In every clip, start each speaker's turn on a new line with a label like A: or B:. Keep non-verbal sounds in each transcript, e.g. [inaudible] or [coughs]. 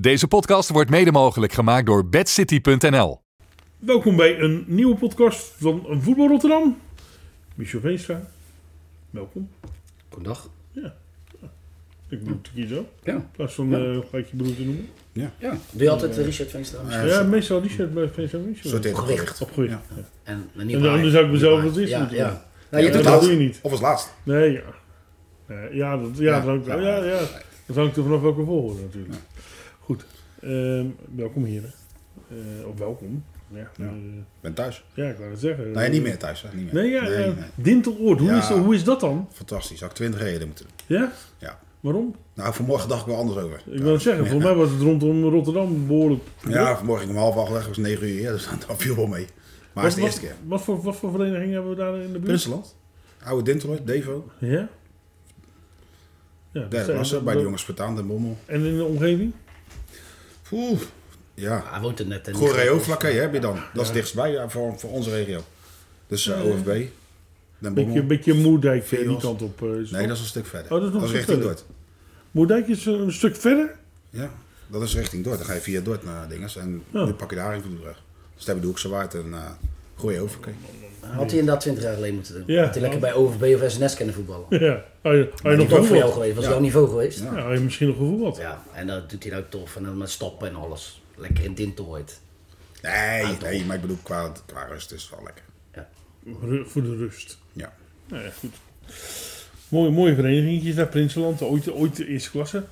A: Deze podcast wordt mede mogelijk gemaakt door bedcity.nl.
B: Welkom bij een nieuwe podcast van Voetbal Rotterdam. Michel Veenstra, welkom.
C: Goedendag.
B: Ik bedoel te kiezen,
C: Ja.
B: in plaats van
C: Ja.
B: eh, gelijk je broer te noemen.
C: ja. Doe je altijd de Richard Veenstra?
B: Ja, meestal die shirt bij Veenstra Michel.
D: Zo tegen.
C: Opgericht.
B: Opgericht.
D: Ja.
B: Ja.
C: En, en niet
B: En dan dus
C: waar.
B: zou ik mezelf
C: Niet
B: wat
C: waar.
B: is
C: ja,
B: moeten
C: ja.
B: doen.
C: Nou, je
B: Ja,
C: doet
B: dat
C: dat.
B: doe je niet.
D: Of als laatst.
B: Nee, ja. Nee, ja, dat, ja,
D: Ja,
B: dat hangt, ja,
D: ja.
B: ja, Dat hangt er vanaf welke volgorde natuurlijk. Goed. Ehm, welkom hier. Eh of welkom. Ja,
D: Ja.
B: eh,
D: Ik ben thuis.
B: ja, ik wou het zeggen.
D: Nee, niet meer thuis. Hè. Niet meer.
B: Eh, Nee, ja,
D: nee,
B: ja.
D: nee.
B: Dinteloord, hoe,
D: Ja.
B: is, dat- hoe is dat dan?
D: Fantastisch. Had ik twintig reden moeten doen.
B: Ja?
D: Ja.
B: Waarom?
D: Nou, vanmorgen dacht ik wel anders over.
B: Ik wil het zeggen, volgens mij was het rondom Rotterdam behoorlijk.
D: Ja, vanmorgen ging om half acht weg. was negen uur. Ja, dus dat viel wel mee. Maar het is de eerste keer.
B: Wat, wat, voor, wat voor vereniging hebben we daar in de buurt?
D: Prinseland. Oude Dinteloord, Devo.
B: Ja? ja dat
D: Derde
B: zijn-
D: klasse. Bij de jongens Spartaan, Den Bommel.
B: En in de omgeving?
D: Oeh. Ja.
C: Hij woont er net. en niet
D: Goreo
C: groot.
D: vlakke heb je dan. Dat is dichtstbij ja, voor, voor onze regio. Dus eh, OFB. Den
B: Beetje,
D: Bommel.
B: beetje Moerdijk eh, die
D: Veros.
B: kant op. eh, is
D: Nee,
B: het.
D: dat is een stuk verder.
B: Oh, dat is nog een stuk
D: richting
B: verder.
D: Dordt.
B: Moerdijk is een stuk verder. [laughs]
D: Ja, dat is richting Dordt. Dan ga je via Dordt naar Dinges. En
B: Ja.
D: nu pak je daar in Voetenbrug. Dus daar heb je de Hoekse Waard en eh gooi over.
C: Had hij inderdaad 20 jaar geleden moeten doen.
B: Ja.
C: Had hij lekker bij OVB of SNS kunnen voetballen.
B: Ja. Had je, had je
C: Hij
B: nog
C: nog ook voor jou
B: gevoetbald?
C: geweest. Was
D: Ja.
C: jouw niveau geweest. Ja.
D: Ja.
B: Ja, had je misschien nog gevoetbald.
C: En dat doet hij nou tof. En dan met stappen en alles. Lekker in Dinteloord.
D: Nee,
B: Ah,
D: nee, maar ik bedoel, qua, qua rust is het wel lekker.
C: Ja.
B: Ru- Voor de rust.
D: Ja.
B: Nou ja, goed. Mooie, mooie verenigingjes daar, Prinseland. Ooit, ooit de eerste klasse.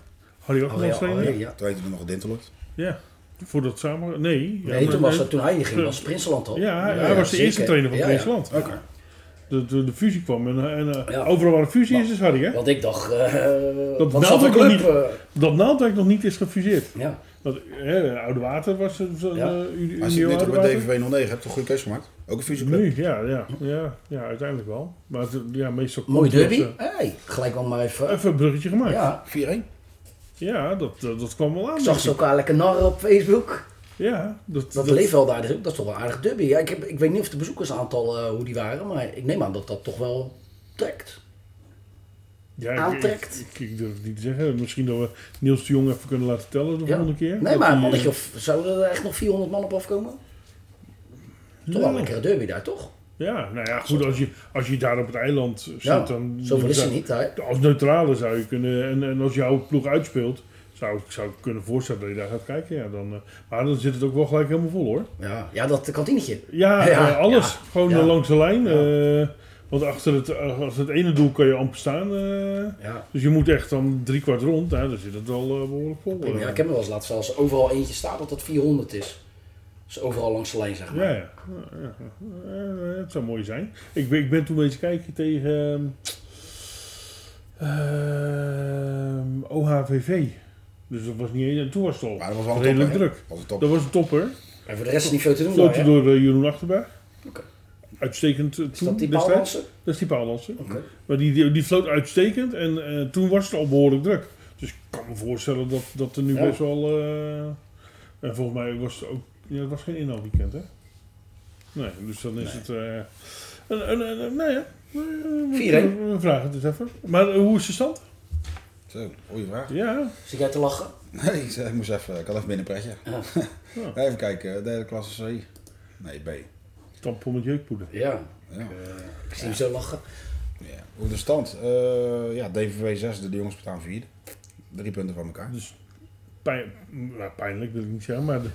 B: Harry ook
C: Oh, ja,
B: nog trainer.
C: oh, ja.
D: Toen heette het nog Dinteloord.
B: Ja. Voor dat samen... Nee. ja,
C: Nee,
B: maar-
C: toen, was, dat- toen hij ging was het Prinseland al.
B: Ja, hij, hij was de
C: zeker.
B: eerste trainer van
C: Ja, ja.
B: Prinseland.
D: Oké.
B: De, de, de fusie kwam en, eh, en eh,
C: Ja.
B: overal waar een fusie is, is Harry, hè?
C: Want ik dacht, eh
B: Dat
C: dat wat zat
B: Naaldwijk
C: een
B: nog
C: club?
B: niet-
C: eh,
B: Dat Naaldwijk nog niet is gefuseerd.
C: ja.
B: Dat, hè, Oude Water was een zo'n
C: Ja.
B: eh, Unie-
D: Als
B: Unie
D: je het nu toch
B: Oude Water.
D: bij DVV 09 hebt, toch een goede keuze gemaakt? Ook een fusieclub?
B: Nu, ja, ja, ja, ja, uiteindelijk wel. Maar het, ja, meestal komt
C: Mooi
B: het
C: derby.
B: als,
C: Hey, gelijk wel maar
B: eh,
C: even.
B: even een bruggetje gemaakt. Ja,
C: Ja.
D: 4-1.
B: dat, dat, dat kwam wel aan.
C: Ik zag ze elkaar lekker narren op Facebook.
B: Ja, dat,
C: Dat,
B: dat-
C: leeft wel daar, dus ook. dat is toch wel een aardig derby. Ja, ik, heb, ik weet niet of de bezoekersaantal eh, hoe die waren, maar ik neem aan dat dat toch wel trekt.
B: ja, ik-
C: aantrekt.
B: Ik, ik, ik durf het niet te zeggen. Misschien dat we Niels de Jong even kunnen laten tellen de
C: Ja.
B: volgende keer.
C: Nee,
B: Dat
C: maar een
B: die,
C: mannetje
B: eh,
C: of zou er echt nog 400 man op afkomen? Toch wel
B: nou,
C: een lekkere derby daar, toch?
B: Ja, nou ja, goed, als je, als je daar op het eiland zit,
C: Ja,
B: dan...
C: zoveel is
B: dan-
C: er niet, hè?
B: Als neutrale zou je kunnen, en, en als jouw ploeg uitspeelt, zou ik zou ik kunnen voorstellen dat je daar gaat kijken. Ja, dan, eh, maar dan zit het ook wel gelijk helemaal vol hoor.
C: Ja, ja dat kantinetje.
B: Ja,
C: Ja,
B: eh, alles.
C: ja,
B: Gewoon
C: ja.
B: eh, langs de lijn. eh, want achter het, eh, achter het ene doel kan je amper staan. eh.
C: Ja.
B: dus je moet echt dan drie kwart rond. Nou, dan zit het wel eh, behoorlijk vol. eh.
C: ja, ik heb me wel eens laten staan, als er overal eentje staat dat dat 400 is. Dus overal langs de lijn, zeg maar.
B: Ja, ja. Ja, ja. Eh, het zou mooi zijn. Ik ben, ik ben toen eens kijken tegen ehm, ehm, OHVV. Dus dat was niet eens. En toen was het al
D: Maar dat was wel een
B: redelijk
D: topper, hè?
B: druk.
D: Dat was een
B: Dat
D: topper.
B: was een topper.
C: En voor de rest is niet veel te doen. daar,
B: Floten
C: hè?
B: door eh, Jeroen Achterberg.
C: Oké.
B: Uitstekend eh, toen.
C: Is dat die
B: destijds.
C: Bouwlandse?
B: Dat is die paaldansen.
C: Oké.
B: Maar die, die, die floot uitstekend en eh, toen was het al behoorlijk druk. Dus ik kan me voorstellen dat, dat er nu
C: Ja.
B: best wel... eh, en volgens mij was het ook... Ja, het was geen inhaalweekend, hè? Nee, dus dan is het... eh een, een, een- een- nou ja. eh,
C: 4-1.
B: We vragen het eens even. Maar eh, hoe is de stand?
D: Zo, goeie vraag.
B: Ja.
C: Zit jij te lachen?
D: Nee, ik, zei, ik moest even, ik had even binnen pretje. [laughs] Even kijken, eh, derde klasse C. Nee, B.
B: Tampon met jeukpoeder.
C: Ja.
D: Ja.
C: Ik zie hem zo lachen.
D: Ja. Hoe de stand? Eh, ja, DVV 6, de jongens Spartaan 4. Drie punten van elkaar.
B: Dus pijn, nou, pijnlijk wil ik niet zeggen, maar... de-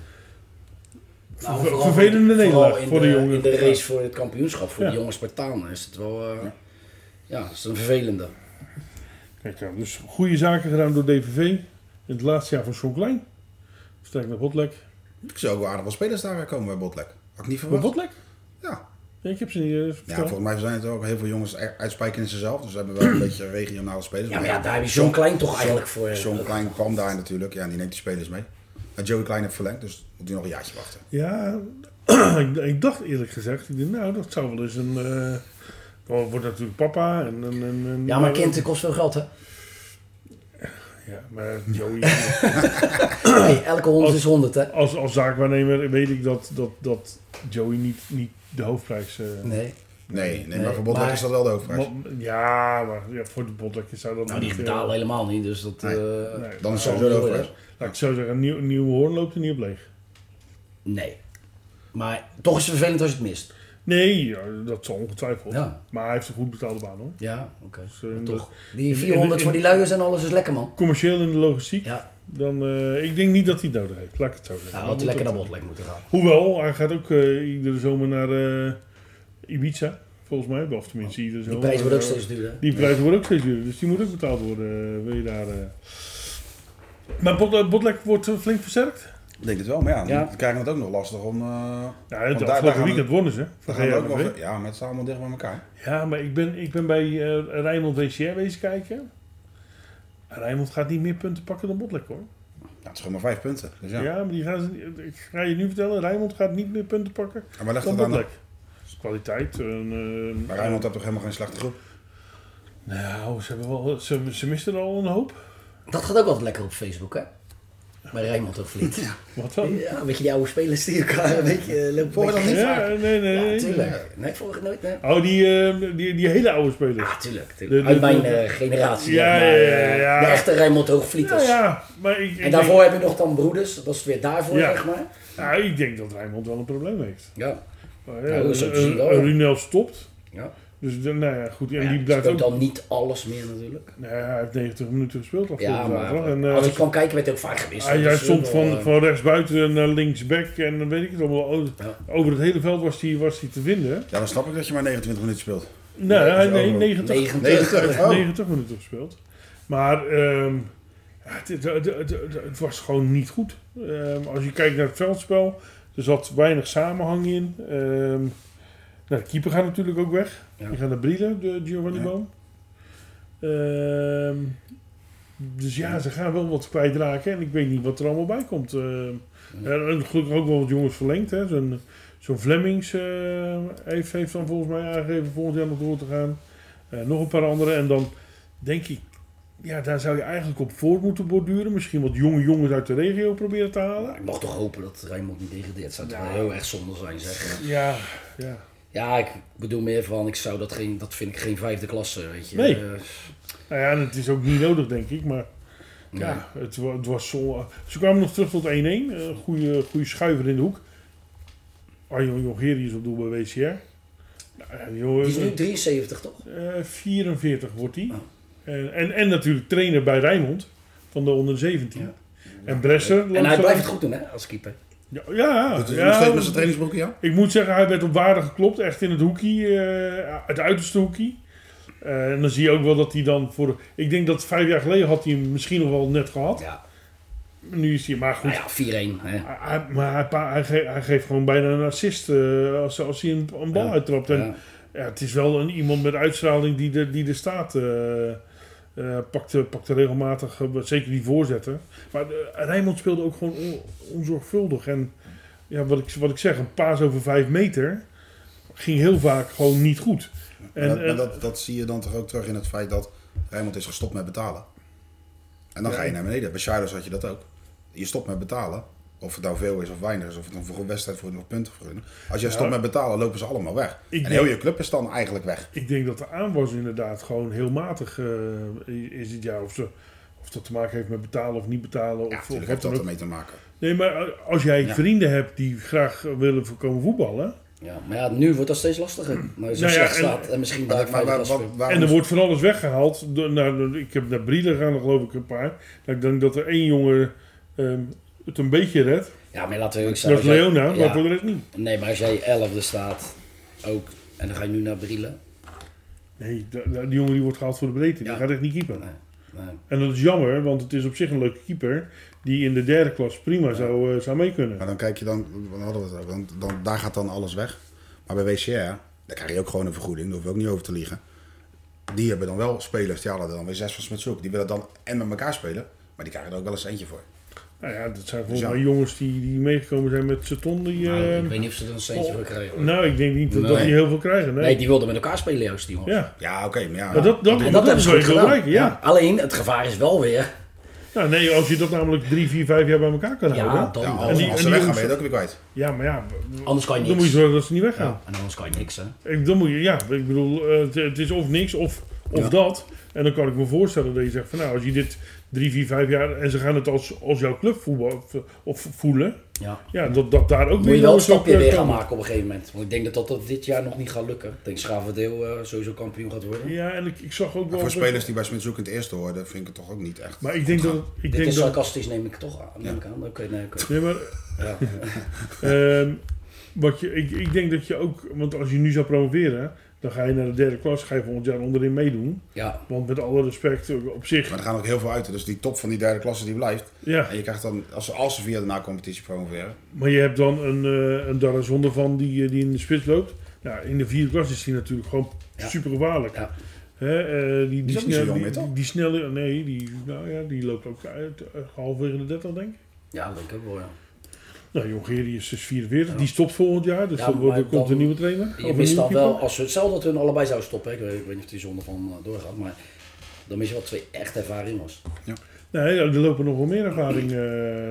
C: Nou,
B: Ver-
C: vooral-
B: vervelende
C: vooral
B: nederlaag
C: in
B: voor de jongen.
C: In de race voor het kampioenschap, voor
B: Ja.
C: de jonge Spartanen, is het wel eh, ja, dat is een vervelende.
B: Kijk, ja, dus goede zaken gedaan door DVV. In het laatste jaar van Sean Klein. Sterk naar Botlek.
D: Ik zou ook wel aardig wat spelers daar weer komen bij Botlek. Had ik niet
B: Maar
D: verwacht.
B: Botlek?
D: Ja.
B: Ja, ik heb ze niet eh,
D: Ja,
B: verteld.
D: volgens mij zijn het ook heel veel jongens e- uit Spijkenissen zelf. Dus we hebben wel een [clears throat] beetje regionale spelers.
C: Ja, maar ja, daar heb je John Klein toch eigenlijk voor.
D: John Klein kwam daar natuurlijk. Ja, en die neemt die spelers mee. En Joey Klein heeft verlengd, dus moet hij nog een jaartje wachten.
B: Ja, [clears throat] ik, ik dacht eerlijk gezegd, ik dacht, nou, dat zou wel eens een... eh, wel wordt natuurlijk papa en... en, en en- eh,
C: Ja, maar kind kost veel geld, hè?
B: Ja, maar Joey,
C: [clears throat]
B: [laughs]
C: Hey, elke honderd
B: Als-
C: is honderd, hè?
B: als, als zaakwaarnemer weet ik dat, dat, dat Joey niet, niet de hoofdprijs... eh,
C: Nee.
D: Nee, nee, maar
C: Nee,
D: voor Botlek
C: maar-
D: is dat wel de hoofdprijs.
B: Maar- Ja, maar ja, voor de botlekjes zou dat
C: Nou, die
B: niet, eh,
C: betalen helemaal niet, dus dat...
D: Nee.
C: eh,
B: nee,
D: Dan is
B: nou,
D: sowieso de
C: Oh,
D: hoofdprijs.
B: laat ik zo zeggen, nieuw, nieuw hoorn loopt er niet op leeg.
C: nee. Maar toch is het vervelend als je het mist.
B: Nee, ja, dat zal ongetwijfeld.
C: Ja.
B: Maar hij heeft een goed betaalde baan hoor.
C: Ja, oké.
B: Dus, eh,
C: Maar
B: dat-
C: Toch. Die
B: in-
C: 400 voor die luiers en alles is lekker, man.
B: Commercieel in de logistiek,
C: Ja,
B: dan eh, ik denk niet dat hij het nodig heeft. Laat ik het zo zeggen.
C: nou,
B: Dan
C: had
B: moet
C: hij lekker
B: het-
C: naar Botlek moeten gaan.
B: Hoewel, hij gaat ook eh, iedere zomer naar eh, Ibiza, volgens mij. Of tenminste, iedere
C: Die
B: zomer.
C: prijs wordt ook
B: Eh,
C: steeds duurder.
B: Die prijs wordt ook steeds duurder, dus die moet ook betaald worden. eh, wil je daar. eh. Maar Bot, eh, Botlek wordt eh, flink versterkt?
D: Ik denk het wel, maar ja, dan
C: Ja.
D: krijgen we het ook nog lastig om... eh
B: Ja, het,
D: daar- daar
B: vorige
D: gaan we-
B: weekend wonnen ze.
D: dan
B: Van
D: gaan we ook
B: GRV.
D: nog, ja, met z'n allemaal dicht bij elkaar.
B: Ja, maar ik ben, ik ben bij eh, Rijnmond WCR wezen kijken. Rijnmond gaat niet meer punten pakken dan Botlek hoor.
D: Ja, het is gewoon maar vijf punten. Dus ja.
B: Ja, maar die gaan ze, niet- ik ga je nu vertellen, Rijnmond gaat niet meer punten pakken
D: Maar legt
B: dan
D: het aan...
B: Botlek. Dus kwaliteit. En, eh,
D: Maar Rijnmond heeft toch helemaal geen slechte groep?
B: Nou, ze, hebben wel, ze, ze misten er al een hoop.
C: Dat gaat ook altijd lekker op Facebook, hè? Bij Rijnmond of Vliet. Ja.
B: Wat dan?
C: weet je, die oude spelers die elkaar een beetje eh, lopen.
D: Voor
C: beetje-
D: dan niet?
B: Ja, nee, nee.
C: Ja,
B: nee.
C: natuurlijk. Nee, vorige nooit, hè?
B: Oh, die, eh, die, die hele oude spelers.
C: Ja, tuurlijk.
B: De-
C: tuurlijk.
B: de-
C: Uit mijn
B: de-
C: eh, generatie.
B: Ja,
C: zeg maar,
B: ja, ja,
C: eh,
B: ja.
C: De echte Rijnmond
B: Ja,
C: Hoogvlieters.
B: Nou ja, maar ik, ik,
C: En daarvoor
B: denk,
C: heb je nog dan broeders. Dat is weer daarvoor,
B: Ja.
C: zeg maar.
B: nou, ik denk dat Rijnmond wel een probleem heeft.
C: Ja.
B: Maar ja,
C: Nou, dat is ook
B: eh,
C: zien wel,
B: eh,
C: ja.
B: Runel stopt.
C: ja.
B: Dus de- nou ja, goed. En
C: Ja,
B: die blijft ook...
C: speelt dan niet alles meer natuurlijk.
B: Nou ja, hij heeft 90 minuten gespeeld afgelopen
C: Ja, maar
B: zaterdag. En, eh,
C: als ik kwam kijken werd hij ook vaak gewisseld.
B: hij, hij
C: Dus,
B: stond
C: eh,
B: van,
C: wel,
B: van rechts buiten naar linksback en dan weet ik het allemaal. O-
C: Ja.
B: Over het hele veld was hij, was hij te vinden.
D: Ja, dan snap ik dat je maar 29 minuten speelt.
B: Nee,
D: dat
B: hij-
D: is
B: nee,
D: ook nog
B: 90,
C: 90.
D: 90? Oh.
B: 90 minuten gespeeld. Maar ehm, ja, het, het, het, het- het- het was gewoon niet goed. Ehm, als je kijkt naar het veldspel, er zat weinig samenhang in. Ehm, nou, de keeper gaat natuurlijk ook weg.
C: Ja.
B: Die gaat naar Brielen, de Giovanni
D: Ja.
B: Boom. Ehm, dus ja, ze gaan wel wat kwijtraken. En ik weet niet wat er allemaal bij komt. Ehm, en- en gelukkig ook wel wat jongens verlengd. hè. Zo'n zo'n Flemings eh, heeft, heeft dan volgens mij aangegeven volgend jaar nog door te gaan. Eh, nog een paar andere. En dan denk ik, ja, daar zou je eigenlijk op voort moeten borduren. Misschien wat jonge jongens uit de regio proberen te halen.
C: Maar eh, ik mag toch hopen dat Rijnmond niet degradeert. Zou toch
B: Ja.
C: wel heel erg zonde zijn, zeg.
B: Ja, ja.
C: Ja, ik bedoel meer van, ik zou dat geen, dat vind ik geen vijfde klasse, weet je.
B: Nee.
C: Eh,
B: Nou ja, en het is ook niet nodig, denk ik. Maar ja, het, wa- het was zo. eh, Ze kwamen nog terug tot 1-1. Eh, goede, goede schuiver in de hoek. Arjen Jongerius op doel bij WCR. Nou, ja, die jongen-
C: die is nu 73, toch?
B: Eh, 44 wordt hij.
C: Ah.
B: En, en, en natuurlijk trainer bij Rijnmond van de onder 17.
C: Ja.
B: En Bresser.
C: En hij
B: langzaam-
C: blijft het goed doen, hè, als keeper.
B: Ja, ja,
D: Het is
B: ja.
D: nog steeds met zijn trainingsbroekje, ja?
B: Ik moet zeggen, hij werd op waarde geklopt. Echt in het hoekie. eh, het uiterste hoekie. Eh, en dan zie je ook wel dat hij dan voor... Ik denk dat vijf jaar geleden had hij hem misschien nog wel net gehad.
C: Ja,
B: Nu is hij... Maar goed.
C: nou ja 4-1. Hè.
B: Hij- Hij, maar hij, pa- hij, ge- hij geeft gewoon bijna een assist eh, als, als hij een, een bal
C: Ja.
B: uittrapt. En,
C: Ja.
B: ja, het is wel een, iemand met uitstraling die er, die er staat. eh eh pakte, pakte regelmatig, eh, zeker die voorzetten. Maar eh, Rijnmond speelde ook gewoon on- onzorgvuldig. En ja, wat, ik, wat ik zeg, een paas over vijf meter ging heel vaak gewoon niet goed.
D: Maar
B: En,
D: dat, maar
B: en-
D: dat, dat zie je dan toch ook terug in het feit dat Rijnmond is gestopt met betalen. En dan ga je naar beneden. Bij Charles had je dat ook. Je stopt met betalen. Of het nou veel is of weinig is. Of het een voor- wedstrijd voor nog punten voor hun. Als jij stopt met betalen, lopen ze allemaal weg.
B: Ik
D: en
B: denk-
D: heel je club is dan eigenlijk weg.
B: Ik denk dat de aanwas inderdaad gewoon heel matig eh, is dit jaar. Of, ze, of dat te maken heeft met betalen of niet betalen.
D: Ja,
B: of, of
D: natuurlijk
B: wat
D: heeft
B: dan
D: dat
B: ook.
D: ermee te maken.
B: Nee, maar als jij
D: Ja.
B: vrienden hebt die graag willen voorkomen voetballen.
C: Ja, maar ja, nu wordt dat steeds lastiger. Nou, is
B: Nou ja,
C: slecht
B: en-
C: staat en misschien
D: Maar,
C: daar
D: dat- maar
C: vijfde
D: waar-
C: klasse
D: wat-
C: voor.
D: waarom
B: en er
D: is-
B: wordt van alles weggehaald. De- naar- de- ik heb naar Brielen gaan, er geloof ik, een paar. Nou, ik denk dat er één jongen ehm, het een beetje redt.
C: Ja, maar laten we ook
B: Dat is Leona, maar
C: ja.
B: voor de rest niet.
C: Nee, maar als jij 11e staat, ook, en dan ga je nu naar Brielen.
B: Nee, de- de- die jongen die wordt gehaald voor de breedte. Die
C: Ja.
B: gaat echt niet keeper.
C: Nee, nee.
B: En dat is jammer, want het is op zich een leuke keeper. Die in de derde klas prima zou, eh, zou mee kunnen.
D: Maar dan kijk je dan, dan hadden we het over, dan, dan, daar gaat dan alles weg. Maar bij WCR, daar krijg je ook gewoon een vergoeding, daar hoeven we ook niet over te liegen. Die hebben dan wel spelers, die halen er dan weer zes van Smitshoek. Die willen dan en met elkaar spelen, maar die krijgen er ook wel eens eentje voor.
B: Nou ja, dat zijn volgens
D: Ja.
B: mij jongens die, die meegekomen zijn met Saton. Die,
C: Nou, ik
B: ehm,
C: weet niet of ze er een centje voor krijgen. hoor.
B: nou, ik denk niet dat, dat
D: Nee.
B: die heel veel krijgen. Nee.
C: nee. die wilden met elkaar spelen, juist, die jongens.
B: ja.
D: Ja, oké, maar ja.
B: Maar dat, dat,
C: En
B: dat,
C: dat hebben
B: is
C: ze
B: wel
C: goed
B: heel
C: gedaan.
B: belangrijk, ja.
C: Alleen, het gevaar is wel weer
B: Ja, nee, als je dat namelijk drie, vier, vijf jaar bij elkaar kan
C: Ja,
B: houden.
C: dan
D: Ja,
C: wel.
D: als,
B: die- Nou,
D: als
B: en
D: ze
B: die
D: weggaan ben
B: jongens-
D: je het ook weer kwijt.
B: Ja, maar ja,
C: Anders kan je
B: dan moet je
C: niks.
B: zorgen dat ze niet weggaan.
C: Ja, en anders kan je niks, hè.
B: Ik- Dan moet je, ja, ik bedoel, eh, het, het is of niks of, of
D: Ja.
B: dat. En dan kan ik me voorstellen dat je zegt van nou, als je dit drie, vier, vijf jaar en ze gaan het als, als jouw club voetbal, of, of voelen,
C: Ja.
B: ja, dat, dat daar ook
C: Moet je wel een
B: jongens op,
C: stapje
B: eh,
C: weer gaan
B: komen.
C: maken op een gegeven moment. Want ik denk dat dat, dat dit jaar nog niet gaat lukken. Ik denk Schavendeel eh, sowieso kampioen gaat worden.
B: Ja, en ik, ik zag ook wel.
D: Voor
B: dat-
D: spelers die bij Smitshoek in het eerste hoorden, vind ik het toch ook niet echt.
B: Maar ik denk dat. het- Ik
C: dit
B: denk
C: is
B: dat
C: sarcastisch, neem ik toch aan. Neem ik aan. Oké, nee, oké.
B: [laughs] nee, maar,
C: Ja.
B: ehm, wat je, ik, ik denk dat je ook. Want als je nu zou promoveren, dan ga je naar de derde klas, ga je volgend jaar onderin meedoen.
C: ja.
B: Want met alle respect eh, op zich.
D: Maar er gaan ook heel veel uit. Dus die top van die derde klasse die blijft.
B: Ja,
D: En je krijgt dan, als ze, als ze via de na-competitie promoveren,
B: maar je hebt dan een, eh een Darazonde van die, eh, die in de spits loopt. Ja, in de vierde klas is die natuurlijk gewoon
C: Ja.
B: super gevaarlijk.
C: Ja.
B: Hè, eh, die,
D: Die
B: die,
D: is ook niet zo
B: snelle,
D: jong
B: die,
D: meer, toch?
B: die snelle, nee, die, nou ja, die loopt ook uit, eh, halverwege de 30, denk ik.
C: ja, dat denk ik ook wel, ja.
B: Nou, Jongeri is dus 44, die stopt volgend jaar, dus
C: Ja,
B: dat
C: maar
B: wordt, er komt
C: dan-
B: een nieuwe trainer. Of
C: Je
B: een
C: mist
B: nieuwe
C: dan wel,
B: keeper.
C: als ze, stel dat hun allebei zouden stoppen, hè. ik, weet, ik weet niet of die zonde van eh, doorgaat, maar dan mis je wel twee echt ervaring was.
B: Nee, er lopen nog wel meer ervaring eh,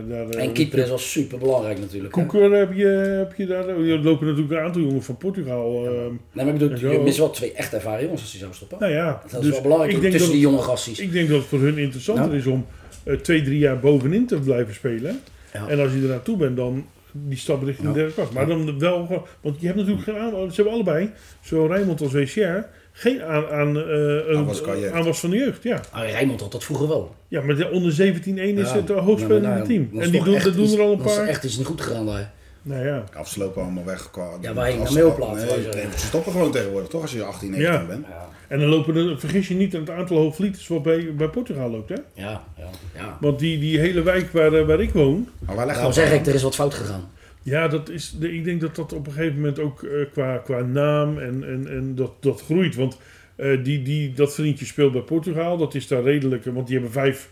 B: daar. eh,
C: En keeper is wel super belangrijk natuurlijk. hè.
B: Koeker heb je, heb je daar, er lopen natuurlijk een aantal jongens van Portugal. eh,
C: Nee, maar ik bedoel,
B: En zo.
C: je mist wel twee echt ervaren jongens als die zou stoppen.
B: nou ja,
C: dat is
B: dus
C: wel belangrijk
B: ik
C: ook
B: denk
C: tussen
B: dat-
C: die jonge gasties.
B: Ik denk dat het voor hun interessanter
C: Nou.
B: is om eh, twee, drie jaar bovenin te blijven spelen.
C: Ja.
B: En als je er naartoe bent, dan die stap richting de derde klas. Maar dan wel, gewoon- want je hebt natuurlijk geen aan, ze hebben allebei, zowel Rijnmond als WCR, geen aan, aan, eh, een-
D: Aanwas qua jeugd.
B: aanwas van de jeugd. Ja,
C: Ah, Rijnmond had dat vroeger wel.
B: ja maar de onder 17-1 is
C: Ja.
B: het eh,
C: Ja,
B: hoogspelende
C: maar nou,
B: team.
C: dat is
B: En die
C: toch
B: doen,
C: echt
B: dat doen
C: iets-
B: er al een
C: Dat
B: paar.
C: is echt iets niet goed gegaan daar.
B: Nou ja.
D: afslopen allemaal weg. Qua,
C: Ja, wij
D: als-
C: naar mailplaats, wij
D: Nee,
C: zeggen.
D: nee, ze stoppen gewoon tegenwoordig, toch? Als je 18, 19
B: Ja.
D: bent.
C: Ja,
B: En dan lopen er, vergis je niet, aan het aantal hoofdlieders wat bij, bij Portugal loopt. Hè?
C: ja, ja. ja.
B: Want die, die hele wijk waar, eh, waar ik woon,
D: Maar waar legt
C: Daarom
D: dat
C: zeg
D: aan?
C: ik, er is wat fout gegaan.
B: ja, dat is, de- ik denk dat dat op een gegeven moment ook eh, qua, qua naam en, en, en dat, dat groeit. Want eh, die, die, dat vriendje speelt bij Portugal, dat is daar redelijk, eh, want die hebben vijf,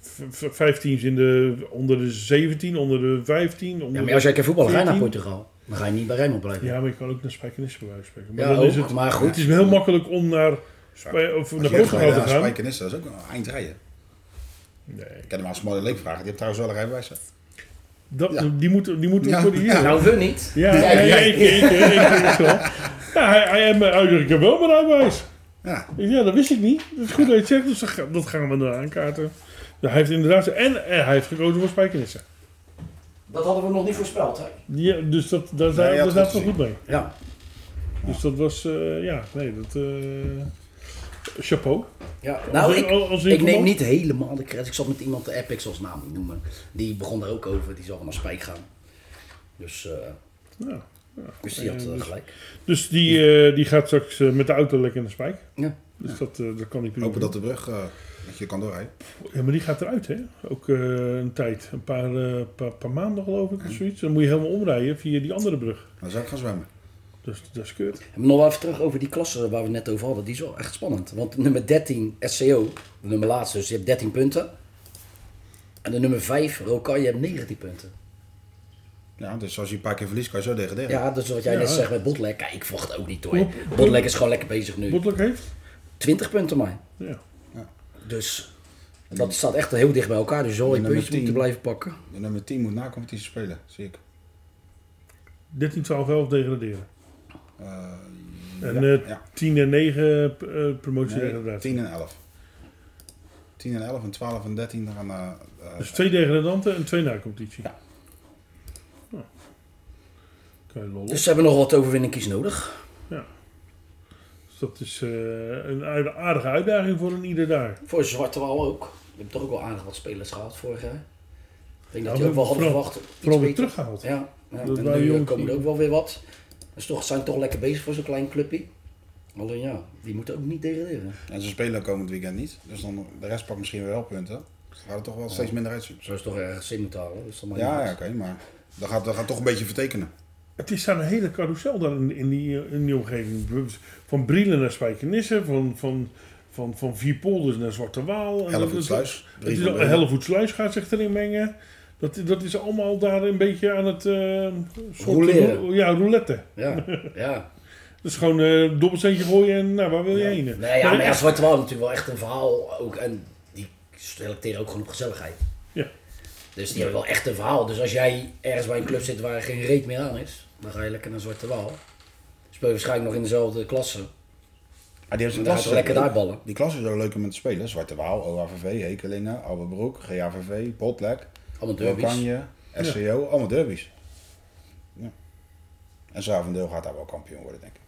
B: v- v- vijf teams in de, onder de 17, onder de 15. Onder
C: Ja, maar als jij
B: de-
C: keer voetballen, ga je naar
B: 14.
C: Portugal. Dan ga je niet bij Rijnmond blijven. Ja,
B: ja, maar je kan ook naar Spijkenisse bij wijze van spreken. Maar
C: maar,
B: dan is het,
C: maar
B: het
C: goed.
B: is heel makkelijk om naar, Spij- of
D: Als
B: naar
D: je hebt
B: Portugal te
D: gewoon
B: gaan.
D: Spijkenissen, dat is ook een eind rijden.
B: Nee.
D: Ik kan hem als mooie leek vragen. Die hebt trouwens wel een rijbewijs. hè?
B: Dat,
D: Ja.
B: Die moeten die moeten we
D: Ja.
B: corrigeren.
C: Nou, we niet.
B: Ja,
C: Jij-
B: nee,
C: jij-
B: ik, ik, ik, ik- ik wel. Ja, hij, hij heeft me uitgerekend, ik heb wel mijn rijbewijs.
D: Ja,
B: Ik zeg, Ja, dat wist ik niet. Dat is goed dat je het zegt, dus dat ga- dat gaan we dan aankaarten. Ja, hij heeft inderdaad... En, en hij heeft gekozen voor spijkenissen.
C: Dat hadden we nog niet voorspeld, hè?
B: Ja, dus dat, daar
D: Nee,
B: zijn
D: je had
B: daar zaten
D: goed
B: we goed mee.
C: Ja.
B: Dus dat was... eh, ja, nee, dat... eh, chapeau.
C: ja. Nou,
B: Als-
C: ik,
B: als- als
C: ik neem
B: iemand-
C: niet helemaal de credits. Ik zat met iemand de app, ik zal zijn naam niet noemen. Die begon daar ook over. Die zal naar Spijk gaan. Dus, eh,
B: Ja.
C: dus die had eh,
B: dus-
C: gelijk.
B: Dus die, eh, die gaat straks eh, met de auto lekker in de spijk.
C: Ja.
B: Dus dat, eh, dat kan ik prima.
D: hopen dat de brug eh, dat je kan doorrijden.
B: Ja, maar die gaat eruit, hè? Ook eh, een tijd. Een paar, eh, paar, paar maanden, geloof ik, of zoiets. Dan moet je helemaal omrijden via die andere brug.
D: Dan zou ik gaan zwemmen.
B: Dus dat is kut.
C: En nog wel even terug over die klasse waar we het net over hadden. Die is wel echt spannend. Want nummer 13, SCO, de nummer laatste, dus je hebt 13 punten. En de nummer 5, Rokai, je hebt 19 punten.
D: Ja, dus als je een paar keer verliest, kan je zo degraderen.
C: Ja, dat is wat jij
B: Ja,
C: net
B: ja.
C: zegt met Botlek. Kijk, ik vocht ook niet hoor.
B: Bot-
C: Botlek is gewoon lekker bezig nu.
B: Botlek heeft?
C: 20 punten maar.
B: Ja.
C: Dus dat staat echt heel dicht bij elkaar. Dus je zal je
D: En nummer
C: puntjes moeten
D: 10.
C: blijven pakken.
D: De nummer 10 moet na competitie spelen, zie ik.
B: 13, 12, 11 degraderen.
D: Eh,
B: En eh,
D: ja.
B: 10 en 9 p- eh, promotie
D: Nee,
B: degradatie.
D: 10 en 11. 10 en 11 en 12 en 13 dan gaan naar... eh,
B: Dus twee degradanten en twee na-competitie.
D: Ja.
B: Nou. Kan je lol op.
C: Dus ze hebben nog wat overwinningkies nodig.
B: Dus dat is eh, een aard- aardige uitdaging voor een ieder daar.
C: Voor Zwarte Wal ook. Je hebt toch ook wel aardig wat spelers gehaald vorig jaar. Ik denk
B: Ja,
C: dat die ook wel hadden
B: vooral-
C: verwacht. iets
B: Vooral weer
C: beter.
B: teruggehaald.
C: Ja, ja
B: Dat
C: en
B: waren
C: nu eh,
B: jongens
C: komen er
B: die-
C: ook wel weer wat. Dus toch zijn toch lekker bezig voor zo'n klein clubje. Alleen ja, die moeten ook niet degraderen.
D: En ze spelen komend weekend niet. Dus dan de rest pakt misschien wel punten. Ze gaan er toch wel steeds minder uitzien.
C: Zo is toch ergens in moeten halen. Dus dan maar
D: Ja, ja
C: niet
D: oké,
C: uit.
D: maar dat gaat, dat gaat toch een beetje vertekenen.
B: Het is daar een hele carousel daar in, in, die, eh, in die omgeving. Van Brielen naar Spijkenisse, van, van, van, van Vierpolders naar Zwarte Waal. En dat- dat-
D: Hellevoetsluis.
B: Het is al, Hellevoetsluis gaat zich erin mengen. Dat, dat is allemaal daar een beetje aan het... eh soort
C: Rouleren.
B: rou- ja, roulette.
C: Ja, ja.
B: Dat is gewoon eh dobbelsteentje gooien en nou, waar wil je heen?
C: Nee, ja, maar ja, Zwarte Wal natuurlijk wel echt een verhaal ook. En die selecteren ook gewoon op gezelligheid.
B: Ja.
C: Dus die hebben wel echt een verhaal. Dus als jij ergens bij een club zit waar geen reet meer aan is, dan ga je lekker naar Zwarte Waal. Speel je waarschijnlijk nog in dezelfde klasse.
D: Ah, die hebben
C: Dan gaan ze lekker daar ballen.
D: Die klasse is ook leuk om te spelen. Zwarte Waal, OHVV, Hekelingen, Alberbroek, GAVV, Botlek,
C: Allemaal derbies.
D: Rokanje, SCO. Allemaal derbies. Ja. En Zavendeel gaat daar wel kampioen worden, denk ik.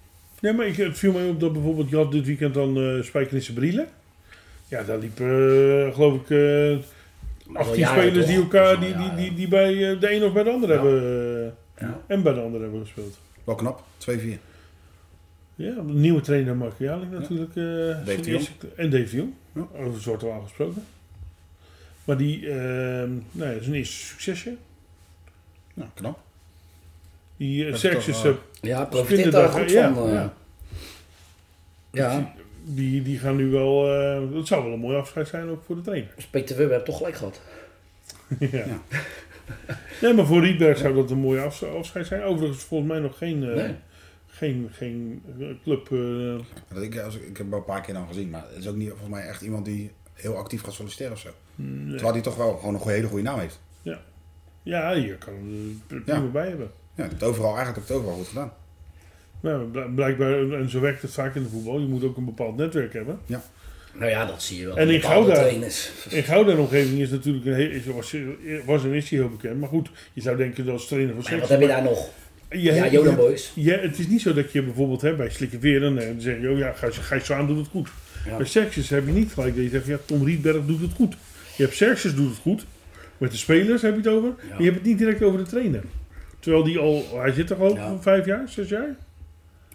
B: Nee, maar ik, het viel mij op dat bijvoorbeeld, je had dit weekend dan eh Spijkenisse Brielen. Ja, daar liepen, eh, geloof ik, eh
C: Maar wel
B: 18
C: jaren
B: spelers
C: toch?
B: die elkaar,
C: Dat is
B: die,
C: wel
B: die,
C: jaren.
B: die, die bij eh, de een of bij de ander
C: Ja.
B: hebben, eh,
C: Ja.
B: en bij de ander hebben gespeeld.
D: Wel knap, 2-4.
B: Ja, een nieuwe trainer Mark Jaling natuurlijk. eh, zijn
D: de
B: eerste- En Dave de Jong.
D: Ja.
B: Over Zwarte Waal gesproken. Maar die, ehm nou ja, zijn eerste succesje.
D: Ja, knap.
B: Die eh,
D: Dat is
B: Sergius,
D: toch, eh,
B: eh,
C: Ja, profiteert
B: Spinderdag,
C: daar goed
B: ja,
C: van. eh.
D: ja.
C: Ja,
B: die, die gaan nu wel, eh, dat zou wel een mooi afscheid zijn ook voor de trainer. [laughs]
C: dus Peter Webber heeft toch gelijk gehad.
B: ja. Nee, maar voor Rietberg zou dat een mooi afs- afscheid zijn. Overigens volgens mij nog geen, eh,
C: Nee.
B: geen, geen eh, club. eh,
D: Dat Ik, als, ik heb hem wel een paar keer dan gezien, maar het is ook niet volgens mij echt iemand die heel actief gaat solliciteren of zo.
B: nee.
D: Terwijl hij toch wel gewoon een goe- hele goede naam heeft.
B: Ja, hier kan er prima
D: Ja.
B: bij hebben.
D: Ja, het overal, eigenlijk heeft het overal goed gedaan.
B: Nou, bl- blijkbaar, en zo werkt het vaak in de voetbal. Je moet ook een bepaald netwerk hebben.
C: Nou ja, dat zie je wel.
B: En in
C: Bepaalde
B: Gouda.
C: trainers.
B: In Gouda en omgeving is natuurlijk een heel, is, was, was en is hij heel bekend. Maar goed, je zou denken dat als trainer van
C: Maar ja, wat
B: Seks.
C: heb je daar nog?
B: je-
C: Ja,
B: je-
C: Jodan Boys.
B: Ja, het is niet zo dat je bijvoorbeeld hè, bij Slikkeveer en eh, dan zeg je, oh ja, Gijs, Gijs Zwaan doet het goed.
C: Ja.
B: Bij Serxes heb je niet gelijk dat je zegt, ja, Tom Rietberg doet het goed. Je hebt Serxes doet het goed, met de spelers heb je het over.
C: Ja.
B: En je hebt het niet direct over de trainer. Terwijl die al, hij zit toch al
C: Ja.
B: vijf jaar, zes jaar?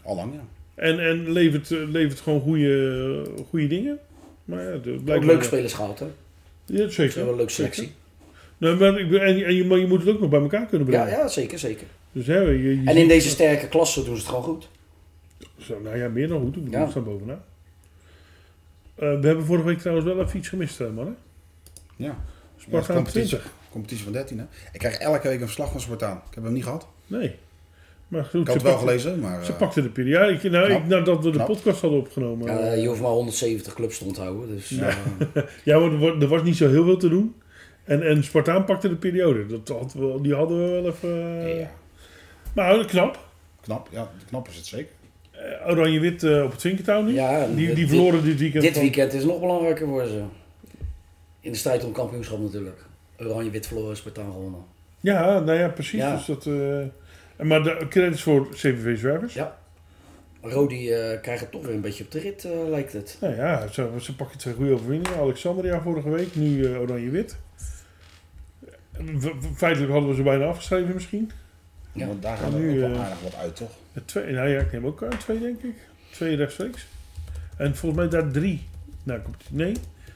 D: Allang, ja.
B: En, en levert, eh, levert gewoon goede, goede dingen. Maar ja, de,
C: Ook
B: blijkbaar-
C: leuke spelers gehad, hè? Ze
B: Ja, zeker.
C: hebben een leuke selectie.
B: Nou, maar ik ben- en en je, maar je moet het ook nog bij elkaar kunnen
C: Ja,
B: brengen.
C: ja, zeker, zeker.
B: Dus hè, je, je
C: En in
B: ziet-
C: deze sterke klasse doen ze het gewoon goed.
B: Zo, nou ja, meer dan goed. Ik bedoel,
C: Ja.
B: we staan bovenaan. Eh, we hebben vorige week trouwens wel even iets gemist, hè, mannen.
D: ja.
B: Sparta
D: Ja,
B: aan 20.
D: Competitie van 13, hè. Ik krijg elke week een verslag van Spartaan. Ik heb hem niet gehad.
B: Nee. Maar goed,
D: Ik
B: ze,
D: had het wel
B: pakte-
D: gelezen, maar...
B: ze
D: eh,
B: pakte de periode. Ik, nou,
D: Knap.
B: ik, nadat we de
D: Knap.
B: podcast hadden opgenomen.
C: Ja,
B: eh,
C: je hoeft maar 170 clubs te onthouden. Dus, eh,
B: [laughs] ja, want er, wa- er was niet zo heel veel te doen. En, en Spartaan pakte de periode. Dat had wel, die hadden we wel even... eh,
D: ja,
B: Maar knap.
D: knap. Ja, knap is het zeker.
B: Eh, Oranje-wit eh, op het Vinkertouw nu.
C: ja,
B: die, die
C: dit-
B: verloren dit weekend.
C: Dit
B: van-
C: weekend is nog belangrijker voor ze. In de strijd om kampioenschap natuurlijk. Oranje-wit verloren, Spartaan gewonnen.
B: Ja, nou ja, precies.
C: Ja.
B: Dus dat, eh, en maar de credits voor CVV Zwervers.
C: Ja. Rodi eh krijgt het toch weer een beetje op de rit, eh, lijkt het.
B: Nou ja, ze, ze pakken twee goede overwinningen. Alexandria vorige week, nu eh, Oranje-Wit. Eh, fe- fe- Feitelijk hadden we ze bijna afgeschreven misschien.
C: Ja.
D: Want daar gaat
B: Nu,
D: er ook wel
B: eh,
D: aardig wat uit, toch?
B: Eh, Twee, nou ja, ik neem ook eh, twee, denk ik. Twee rechtstreeks. En volgens mij daar drie naar competitie. Nee,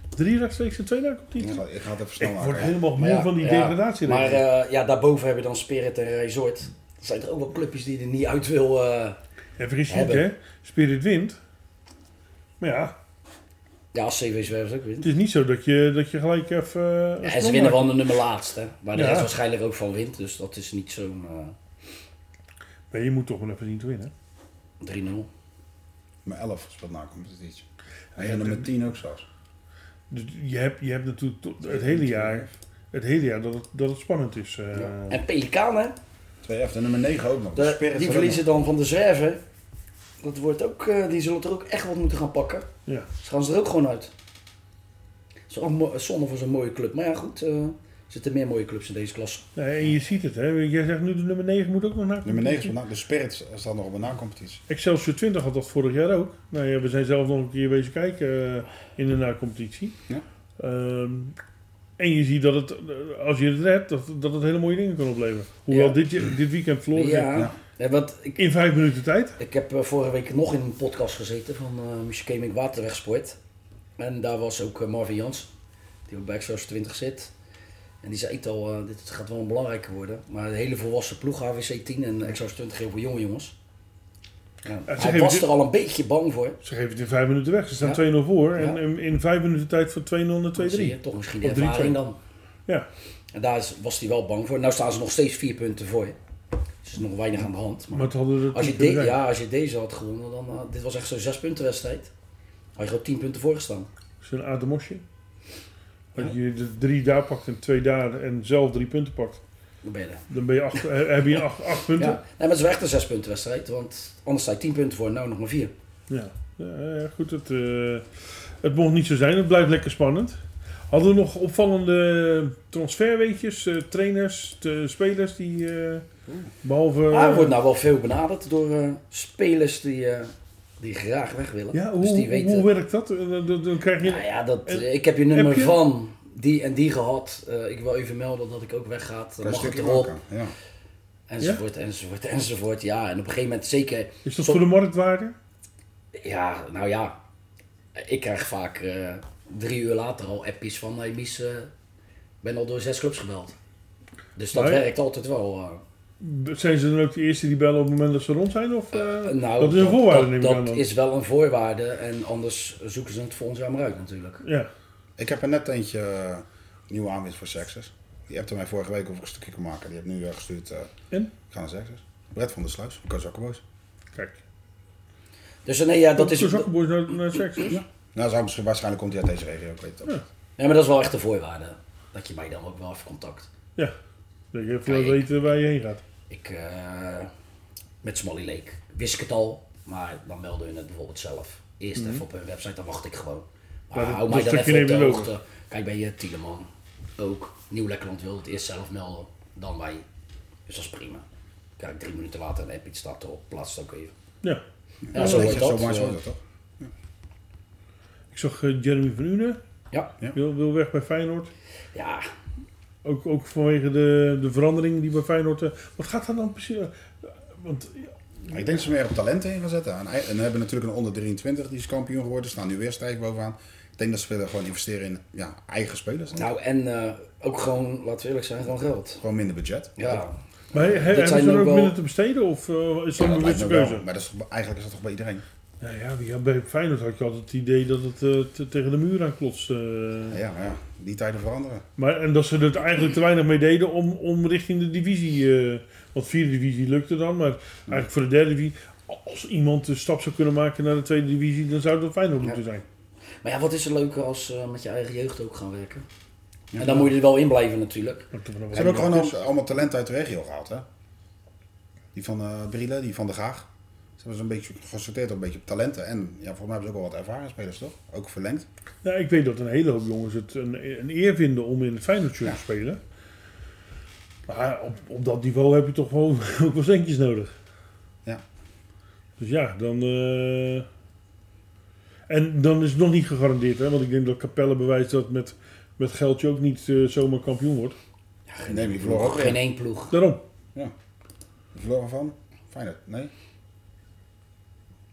B: drie rechtstreeks en twee naar
D: Ik
B: competitie.
D: ga, ik ga het even snel
B: Ik word
D: maken. hè.
B: helemaal moe
C: Maar ja,
B: van die
C: ja.
B: degradatie.
C: Maar eh, ja, daarboven heb je dan Spirit en Resort. Er zijn er ook wel clubjes die er niet uit wil. eh.
B: en vergis je niet,
C: hebben.
B: hè? Spirit wint. Maar ja,
C: ja, als CV Zwervers ook
B: het
C: wint.
B: is niet zo dat je, dat je gelijk even... eh, een
C: Ja, en ze
B: sprong
C: winnen
B: maakt.
C: van de nummer laatste. Waar de
B: Ja.
C: rest waarschijnlijk ook van wint. Dus dat is niet zo'n
B: Nee, je moet toch wel even zien te winnen.
C: eh, 3-0.
D: Maar 11 speelt na competitie. En ja, nummer 10 ook zelfs.
B: Dus je hebt, je hebt natuurlijk tot- het hele jaar, het hele jaar dat, het, dat het spannend is. eh.
C: En Pelikaan, hè?
D: 2 F en nummer 9 ook nog.
C: De-
D: Dus Spirit
C: die
D: ook
C: verliezen dan van de Zwerven. Dat wordt ook, eh, die zullen er ook echt wat moeten gaan pakken.
B: Ja.
C: Dus gaan ze er ook gewoon uit. Dat is ook mo- zonde voor zo'n mooie club. Maar ja, goed. eh, er zitten meer mooie clubs in deze klas.
B: Nee, en je ziet het, hè. Jij zegt nu de nummer 9 moet ook nog naar.
D: nog. Nummer 9 speelt na. De Spirit staat nog op een na-competitie.
B: Excelsior 20 had dat vorig jaar ook. Nou ja, we zijn zelf nog een keer bezig kijken eh, in de nacompetitie.
D: Ja.
B: Ehm, en je ziet dat het, eh, als je het redt, dat, dat het hele mooie dingen kan opleveren. Hoewel
C: Ja.
B: dit, je- dit weekend verloren
C: Ja,
D: ja.
C: Ja, want ik,
B: in vijf minuten tijd.
C: ik heb eh, vorige week nog in een podcast gezeten van eh Michel Keming Waterwegsport. En daar was ook eh, Marvin Jans, die ook bij Excelsior 20 zit. En die zei het al, eh, dit gaat wel een belangrijker worden. Maar een hele volwassen ploeg, HWC 10 en Excelsior 20, heel veel jonge jongens. Ja,
B: Ja, ze
C: hij
B: geven
C: was
B: dit-
C: er al een beetje bang voor.
B: Ze geven het in vijf minuten weg. Ze staan
C: Ja.
B: 2-0 voor. En
C: Ja.
B: in, in vijf minuten tijd van 2-0 naar 2-3.
C: Zie je, toch misschien de
B: Of drie,
C: ervaring
B: twee.
C: dan.
B: Ja.
C: En daar is- was hij wel bang voor. Nou staan ze nog steeds vier punten voor. Dus er is nog weinig aan de hand. Maar
B: Maar het hadden er
C: als, je
B: tien kunnen
C: de-
B: zijn.
C: ja, als je deze had gewonnen, dan... eh, dit was echt zo'n zes punten wedstrijd. Had je gewoon tien punten voor gestaan.
B: Zo'n ademosje. Dat je de drie daar pakt en twee daar en zelf drie punten pakt.
C: Dan ben je er.
B: Dan ben je acht, eh, heb je acht, acht punten.
C: Ja. Nee, maar het is wel echt een zes punten wedstrijd, want anders sta je tien punten voor, nou nog maar vier.
B: Ja, ja, ja, goed. Het, eh, het mocht niet zo zijn. Het blijft lekker spannend. Hadden we nog opvallende transferweetjes, eh, trainers, te- spelers die eh, behalve...
C: Maar er wordt nou wel veel benaderd door eh, spelers die, eh, die graag weg willen.
B: ja, hoe,
C: dus die
B: hoe-
C: weten.
B: hoe werkt dat? Eh, Dan, dan- dan krijg je...
C: Nou ja, dat,
B: En-
C: eh, ik heb je nummer
B: heb je-
C: van die en die gehad. Eh, ik wil even melden dat ik ook wegga. Dan
D: Klein
C: Mag het
D: stukje
C: erop?
D: maken. Ja.
C: Enzovoort, enzovoort, enzovoort. Ja, en op een gegeven moment zeker...
B: Is dat
C: Zo-
B: voor de marktwaarde?
C: Ja, nou ja. Ik krijg vaak eh, drie uur later al appjes van... Hey Mies, eh, ik ben al door zes clubs gebeld. Dus dat
B: Nee.
C: werkt altijd wel. eh.
B: Zijn ze dan ook de eerste die bellen op het moment dat ze rond zijn? Of, eh,
C: nou,
B: dat is een voorwaarde, neem ik
C: dat
B: aan dan.
C: is wel een voorwaarde. En anders zoeken ze het volgend jaar maar uit natuurlijk.
B: Ja.
D: Ik heb er net eentje eh, nieuwe aanwinst voor Sexers. Die hebt mij vorige week of ik een stukje kon maken. Die heb nu eh, gestuurd. eh,
B: En?
D: Ik ga naar Sexers. Brett van der Sluis, van Kozakkenboys.
B: Kijk.
C: Dus eh, nee, ja, dat
B: Komt
C: is...
B: de zakkenboys naar, naar Sexers?
D: Nou, zou misschien, waarschijnlijk komt hij uit deze regio. Ik weet het ook.
B: Ja.
D: niet.
C: Nee, maar dat is wel echt een voorwaarde. Dat je mij dan ook wel even contact.
B: Dat je even
C: Kijk.
B: laat weten waar je heen gaat.
C: Ik, eh, met Smally Lake wist ik het al, maar dan melden hun het bijvoorbeeld zelf. Eerst even op hun website, dan wacht ik gewoon. Maar
B: Maar dat-
C: hou
B: dat
C: mij dan
B: stukje
C: even op de
B: neem je wel.
C: hoogte. Kijk bij je Tieleman ook. Nieuw Lekkerland wil het eerst zelf melden, dan wij. Dus dat is prima. Kijk, drie minuten later een appje staat erop, plaats het ook even.
B: Ja.
C: Ja,
D: Weet
C: zo
D: je,
C: wordt dat.
D: Zo maar zo
C: eh,
D: wordt dat toch?
B: Ik zag eh, Jeremy van Une.
C: Ja,
B: Wil, wil weg bij Feyenoord.
C: ja.
B: Ook, ook vanwege de, de veranderingen die bij Feyenoord... eh, wat gaat daar dan precies... eh, Want
D: Maar Ik denk dat ze meer op talenten in gaan zetten. En, en we hebben natuurlijk een onder 23 die is kampioen geworden. Staan nu weer stijf bovenaan. Ik denk dat ze willen gewoon investeren in ja, eigen spelers.
C: Nou, en eh, ook gewoon, laten we eerlijk zijn, gewoon geld.
D: Gewoon minder budget.
C: Ja,
B: Maar he, hebben ze
C: zijn
B: er
C: ook
B: ook
C: wel-
B: minder te besteden of eh, is dat
D: Ja,
B: een
D: lijkt
B: bewuste
D: me wel.
B: keuze?
D: Maar dat is, eigenlijk is dat toch bij iedereen?
B: Nou ja, wie- ja, bij Feyenoord had je altijd het idee dat het eh, te- tegen de muur aan klotst. eh.
D: Ja, maar ja, die tijden veranderen.
B: maar, en dat ze er eigenlijk te weinig mee deden om, om richting de divisie. eh, want vierde divisie lukte dan, maar eigenlijk voor de derde divisie. Als iemand de stap zou kunnen maken naar de tweede divisie, dan zou dat Feyenoord moeten zijn.
C: Maar ja, wat is er leuker als eh, met je eigen jeugd ook gaan werken? en dan moet je er wel in blijven natuurlijk.
B: Maar toch wel
D: Ze
B: wat
D: hebben ook gewoon
B: anders.
D: al- allemaal talent uit de regio gehaald, hè? Die van eh Brille, die van de Gaag. Ze hebben ze een beetje gesorteerd op een beetje op talenten. En ja, volgens mij hebben ze ook al wat ervaren spelers, toch? Ook verlengd.
B: Nou, ik weet dat een hele hoop jongens het een, een eer vinden om in het Feyenoord shirt
D: Ja.
B: te spelen. Maar op, op dat niveau heb je toch wel [laughs] ook wel centjes nodig.
D: Ja.
B: Dus ja, dan... eh, En dan is het nog niet gegarandeerd, hè? want ik denk dat Capelle bewijst dat met, met geld je ook niet eh, zomaar kampioen wordt.
D: Nee, die verloren ook
C: Geen
D: weer.
C: één ploeg.
B: Daarom.
D: Die verloren van Feyenoord, nee?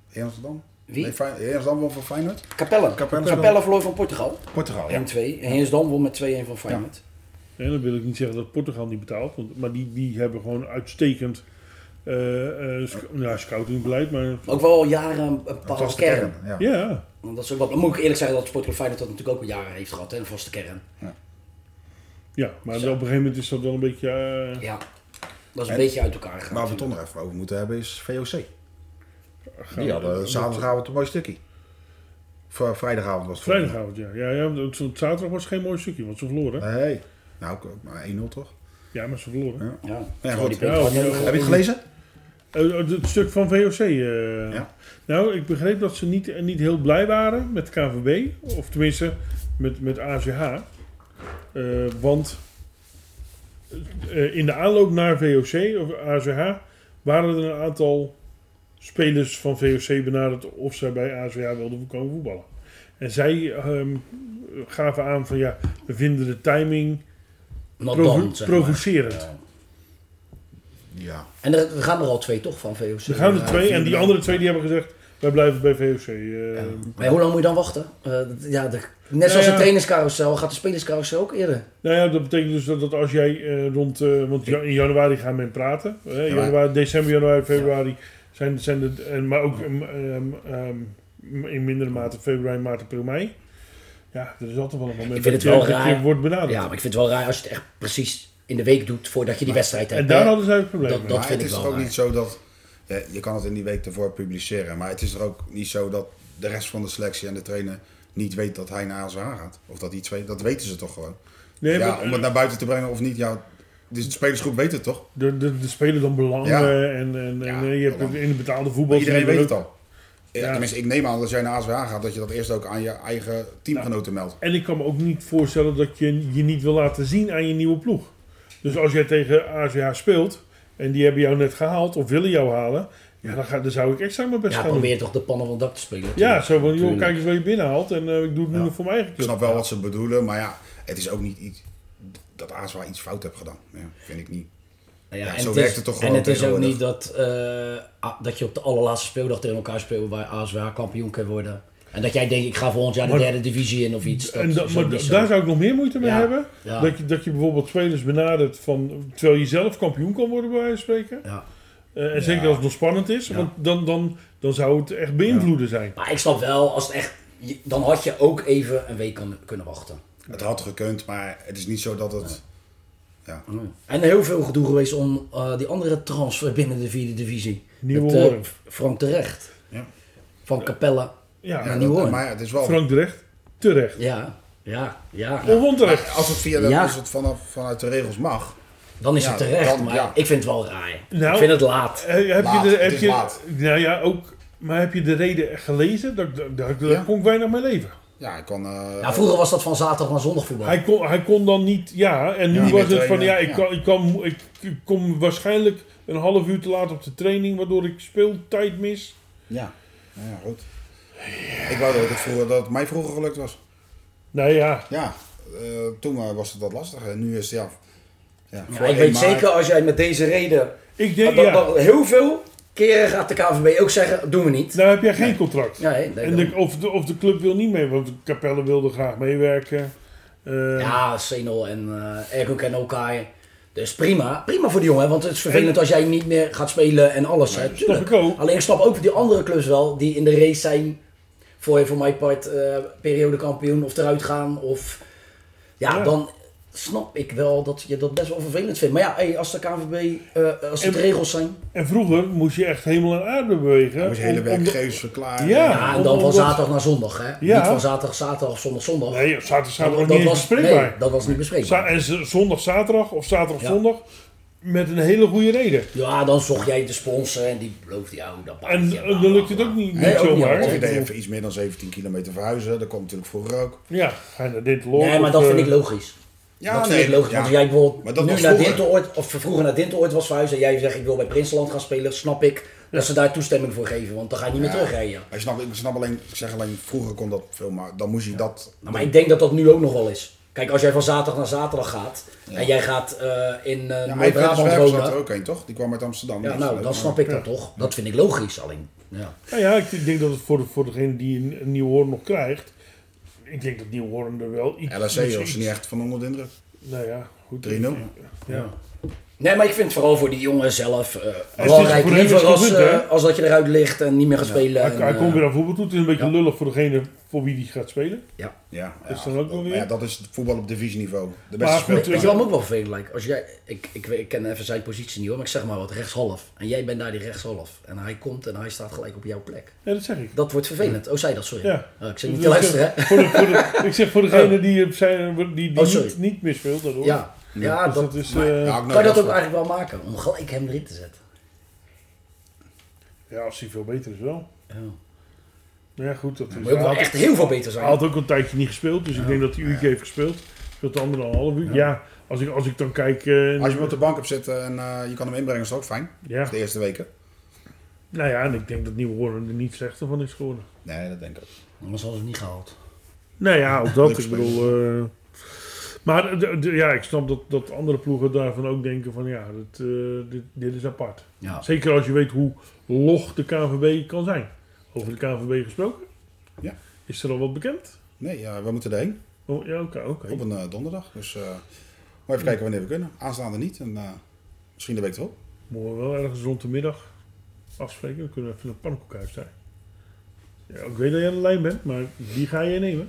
D: Heer Amsterdam?
C: Wie?
D: Nee, Fey- Heer Amsterdam won van Feyenoord?
C: Capelle.
D: Capelle.
C: Capelle verloor van Portugal.
D: Portugal, ja.
C: 1-2. En Heersdam won met 2-1 van Feyenoord.
B: En dan wil ik niet zeggen dat Portugal niet betaalt, want, maar die, die hebben gewoon uitstekend eh, eh, sc- nou, scoutingbeleid. Maar,
C: Ook wel al jaren een- een vaste
D: Vaste
C: kern.
D: kern, ja.
B: ja,
C: Want dat is ook wat, dan moet ik eerlijk zeggen dat Sporting Feyenoord dat natuurlijk ook al jaren heeft gehad. Hè? Een vaste kern.
B: ja, maar op een gegeven moment is dat wel een beetje... eh,
C: Ja. Dat is een
D: En-
C: beetje uit elkaar gegaan.
D: Waar we het toch nog even over moeten hebben is VOC.
B: gaan
D: Die
B: we-
D: hadden zaterdagavond een mooi stukkie. Vri- Vrijdagavond was het.
B: Vrijdagavond, ja. ja, ja want het- het zaterdag was geen mooi stukje, want ze verloren.
D: Nee. Nou, ook maar 1-0 toch?
B: Ja, maar ze verloren.
D: Ja.
C: Ja.
D: Ja,
C: Gewoon
D: goed.
C: die
B: Ja,
C: punt.
B: ja,
D: Heb je het gelezen?
B: Eh, eh, het stuk van VOC. eh.
D: Ja.
B: Nou, ik begreep dat ze niet, eh, niet heel blij waren met KVB. Of tenminste, met, met ACH. Eh, want eh, in de aanloop naar VOC of ACH waren er een aantal spelers van VOC benaderd of zij bij ACH wilden komen voetballen. En zij ehm, gaven aan van ja, we vinden de timing
C: Not
B: provo-
C: done, zeg maar.
B: provocerend.
C: Ja.
D: Ja.
C: En er, er gaan er al twee toch van VOC.
B: Er gaan er
C: Ja.
B: twee en die andere twee die hebben gezegd, wij blijven bij VOC. eh.
C: Maar hoe lang moet je dan wachten? Eh, d- ja, de- net zoals
B: ja.
C: de trainerscarousel gaat de spelerscarousel ook eerder.
B: Nou ja, dat betekent dus dat, dat als jij eh, rond, eh, want ja- in januari gaan men praten. hè,
D: Ja.
B: januari, december, januari, februari zijn, zijn de, en, maar ook ehm, ehm, ehm, in mindere mate februari, maart, april, mei. Ja, er is altijd wel een moment
C: vind
B: dat
C: het
B: je,
C: wel
B: dat je
C: raar.
B: wordt benaderd.
C: Ja, maar ik vind het wel raar als je het echt precies in de week doet voordat je die wedstrijd hebt.
B: en daar
C: hè?
B: hadden zij het probleem mee.
C: Dat
D: maar
C: vind
D: het
C: ik
D: is
C: wel
D: toch ook
C: raar.
D: niet zo dat... Ja, je kan het in die week ervoor publiceren. Maar het is er ook niet zo dat de rest van de selectie en de trainer niet weet dat hij naar ASH gaat. Of dat iets weet, dat weten ze toch gewoon.
B: Nee,
D: ja,
B: maar,
D: om het naar buiten te brengen of niet, ja, de spelersgroep weet het toch?
B: de, de, de spelen dan belangen
D: Ja.
B: en, en,
D: Ja,
B: en eh, je hebt het
D: belangen.
B: in de betaalde voetbal.
D: Maar iedereen
B: zie
D: weet
B: je
D: het
B: dat ook.
D: al. Ja,
B: Ja.
D: tenminste, ik neem aan dat jij naar ASH gaat, dat je dat eerst ook aan je eigen teamgenoten meldt.
B: En ik kan me ook niet voorstellen dat je je niet wil laten zien aan je nieuwe ploeg. Dus als jij tegen AZH speelt en die hebben jou net gehaald of willen jou halen, ja, dan, ga, dan zou ik extra mijn best
C: Ja,
B: gaan doen.
C: probeer toch de pannen van het dak te spelen.
B: Ja, zo van, joh,
C: Tuurlijk.
B: kijk eens wat je binnenhaalt en eh, ik doe het nu
D: Ja.
B: nog voor mijn eigen
D: Ik
B: club.
D: snap wel wat ze bedoelen, maar ja, het is ook niet iets dat ASH iets fout heeft gedaan. Ja, vind ik niet.
C: Nou
D: Ja,
C: en
D: zo
C: het
D: werkt
C: is,
D: het toch
C: En
D: gewoon
C: het is ook
D: tegenwoordig.
C: niet dat, eh, a- dat je op de allerlaatste speeldag tegen elkaar speelt waar ASWA kampioen kan worden. En dat jij denkt, ik ga volgend jaar de
B: Maar-
C: derde divisie in of iets. Dat
B: En da-
C: is ook
B: maar
C: niet
B: da-
C: zo.
B: daar zou ik nog meer moeite mee
C: Ja.
B: hebben.
C: Ja.
B: Dat, je, dat je bijvoorbeeld spelers benadert van, terwijl je zelf kampioen kan worden bij wijze van spreken.
C: Ja.
B: Eh, en
D: Ja.
B: zeker als het nog spannend is,
C: Ja.
B: want dan, dan, dan zou het echt beïnvloeden zijn.
C: Maar ik snap wel, als het echt, je- dan had je ook even een week kan- kunnen wachten.
D: Het had gekund, maar het is niet zo dat het...
C: Hmm. En heel veel gedoe geweest om eh, die andere transfer binnen de vierde divisie.
B: Nieuwe
C: Met, eh,
B: Hoorn.
C: Frank terecht.
D: Ja.
C: Van Capella.
B: Ja,
D: Ja,
C: niet
D: dat-
C: hoor.
D: maar ja, het is wel...
B: Frank terecht, terecht.
C: Ja, ja, ja.
B: Of onterecht.
D: Als het, via de,
C: Ja.
D: als het vanaf, vanuit de regels mag,
C: Dan is
D: Ja,
C: het terecht,
D: dan-
C: maar
D: ja.
C: ik vind het wel raar.
B: Nou,
C: ik vind het laat.
B: Eh, heb
D: Laat,
B: je de,
D: het
B: heb
D: is
B: je,
D: laat.
B: Nou ja, ook. Maar heb je de reden echt gelezen? Daar, daar, daar- daar
D: Ja.
B: kon ik weinig mee leven.
D: ja, ik kan... eh,
C: Nou, vroeger was dat van zaterdag naar zondag voetbal.
B: Hij kon, hij kon dan niet, ja. En nu
D: Ja. Niet
B: was
D: meer
B: het van,
D: trainen,
B: ja, ik,
D: ja.
B: Kan, ik, kan, ik, ik kom waarschijnlijk een half uur te laat op de training, waardoor ik speeltijd mis.
D: Ja. Nou ja, goed. Ik wou dat, ik het vroeger, dat het mij vroeger gelukt was.
B: Nou ja,
D: Ja, eh, toen eh, was het wat lastig. En nu is het, ja... ja,
C: Ja,
D: voor
C: ik
D: één
C: weet
D: maart-
C: zeker, als jij met deze reden...
B: ik denk,
C: dat-
B: ja,
C: dat heel veel keren gaat de KVB ook zeggen, doen we niet.
B: nou heb jij geen contract.
C: Ja, nee, nee,
B: en
C: dan-
B: de, of, de, of de club wil niet mee, want de Capelle wilde graag meewerken. Eh,
C: ja Senol en eh Ergo en Okai. Dus prima. Prima voor die jongen, want het is vervelend als jij niet meer gaat spelen en alles. hè, tuurlijk.
B: ik ook.
C: Alleen ik snap ook die andere clubs wel, die in de race zijn voor, voor mijn part eh periode kampioen of eruit gaan. Of, ja,
B: Ja.
C: dan snap ik wel dat je dat best wel vervelend vindt. Maar ja, hey, als de KVB, eh, als het
B: En-
C: regels zijn...
B: En vroeger moest je echt hemel en aarde bewegen.
D: Moet je hele
B: om- om de-
D: werkgevers verklaren.
B: Ja.
C: Ja, en dan van
B: omdat-
C: zaterdag naar zondag, hè?
B: Ja.
C: Niet van zaterdag, zaterdag, zondag, zondag.
B: Nee, op zaterdag zaterdag
C: dat
B: niet eens bespreekbaar.
C: nee, dat was niet
B: Za-
C: bespreekbaar.
B: en z- zondag, zaterdag of zaterdag,
C: Ja.
B: zondag. Met een hele goede reden.
C: Ja, dan zocht jij de sponsor en die beloofde jou dat
B: En
C: baantje,
B: eh,
C: bla,
B: dan
C: bla,
B: lukt het
C: bla.
B: ook niet,
C: nou, Nee,
B: niet
C: ook niet
B: zomaar.
D: Of
C: altijd.
D: je deed even iets meer dan 17 kilometer verhuizen. Dat kwam natuurlijk vroeger ook.
B: Ja, ga je naar Dinteloord.
C: Nee, maar
B: of,
C: dat vind
B: eh,
C: ik logisch.
D: Ja,
C: dat vind ik logisch, want als jij
D: Maar
C: bijvoorbeeld
D: dat
C: nu
D: was
C: naar
D: vroeger.
C: Dinteloord, of vroeger naar Dinteloord was verhuisd en jij zegt ik wil bij Prinsenland gaan spelen, snap ik dat ze daar toestemming voor geven, want dan ga je niet meer terugrijden. Nou,
D: Ik snap, ik snap alleen, ik zeg alleen, vroeger kon dat veel, maar dan moest je dat...
C: Nou, maar ik denk dat dat nu ook nog wel is. Kijk, als jij van zaterdag naar zaterdag gaat en jij gaat eh, in eh
D: Ja,
C: Noord-Brabant
D: Eindhoven zat
C: wonen,
D: er ook een, toch? Die kwam uit Amsterdam. Dus, eh,
C: ja,
B: eh,
C: nou, dan snap ik dat toch. Dat vind ik logisch alleen. Ja.
B: Nou ja, ik denk dat het voor, voor degene die een, een Nieuwhoorn nog krijgt. Ik denk dat Nieuwhoorn er wel iets...
D: LSC
C: E,
B: iets-
D: was er niet echt van onder de indruk.
B: Nou ja, goed.
D: 3-0.
B: Ja.
C: Nee, maar ik vind het vooral voor die jongen zelf eh,
B: het
C: belangrijk.
B: voor hem
C: Liever
B: is het
C: als,
B: goed,
C: eh,
B: hè?
C: als dat je eruit ligt en niet meer gaat spelen.
B: Hij,
C: en,
B: hij
C: eh,
B: komt weer aan voetbal toe. Het is een beetje
C: ja.
B: lullig voor degene voor wie die gaat spelen.
C: ja.
D: Ja,
B: Is
D: ja,
B: dat ook wel
D: maar
B: weer?
D: ja, dat is voetbal op divisieniveau.
B: Maar
D: De beste
B: goed,
D: speler.
C: Weet weet je wat me ook wel vervelend lijkt? Als jij, ik, ik, weet- ik ken even zijn positie niet hoor, maar ik zeg maar wat, rechtshalf. En jij bent daar die rechtshalf. En hij komt en hij staat gelijk op jouw plek.
B: Ja, dat zeg ik.
C: Dat wordt vervelend. Oh, zei dat, sorry.
B: Ja.
C: Oh, ik zit niet
B: Dus
C: te
B: ik
C: luisteren, hè?
B: zeg, Voor de, voor de- ik zeg voor degene die, eh, zijn, die, die
C: Oh, sorry.
B: niet, niet meer speelt, dat hoor.
C: Ja, ja
B: Dus
C: dat,
B: dat is...
C: maar
B: eh,
D: Ja, ook nog
C: kan je dat
D: wel.
C: ook eigenlijk wel maken? Om gelijk hem erin te zetten.
B: ja, als hij veel beter is wel.
C: Ja. Maar
B: Ja, goed. Dat is
C: je moet wel
B: Hij
C: echt heel veel beter
B: Hij
C: zijn.
B: had ook een tijdje niet gespeeld, dus ik denk dat hij een uurtje heeft gespeeld. Speelt de andere anderhalf uur. Ja, als, ik, als ik dan kijk. eh,
D: Als je hem op de bank hebt zitten en eh, je kan hem inbrengen, is dat ook fijn.
B: ja.
D: De eerste weken.
B: Nou ja, en ik denk dat Nieuwe Hoorn er niet slechter van is geworden.
D: Nee, dat denk ik ook.
C: Anders hadden ze het niet gehaald.
B: Nou ja, ook dat.
D: Niks
B: ik bedoel. eh, maar de- de- ja, ik snap dat, dat andere ploegen daarvan ook denken: van ja, dit, eh, dit, dit is apart.
C: Ja.
B: Zeker als je weet hoe log de KNVB kan zijn. Over de KNVB gesproken?
D: Ja.
B: Is er al wat bekend?
D: Nee, ja, we moeten erheen.
B: Oh, ja, oké. oké.
D: Op een eh, donderdag. Dus eh maar even kijken wanneer we kunnen. Aanstaande niet. En, eh, misschien de week erop.
B: Moeten we wel ergens rond de middag afspreken. We kunnen even naar het pannenkoekhuis zijn. Ja, ik weet dat jij aan de lijn bent, maar die ga je nemen.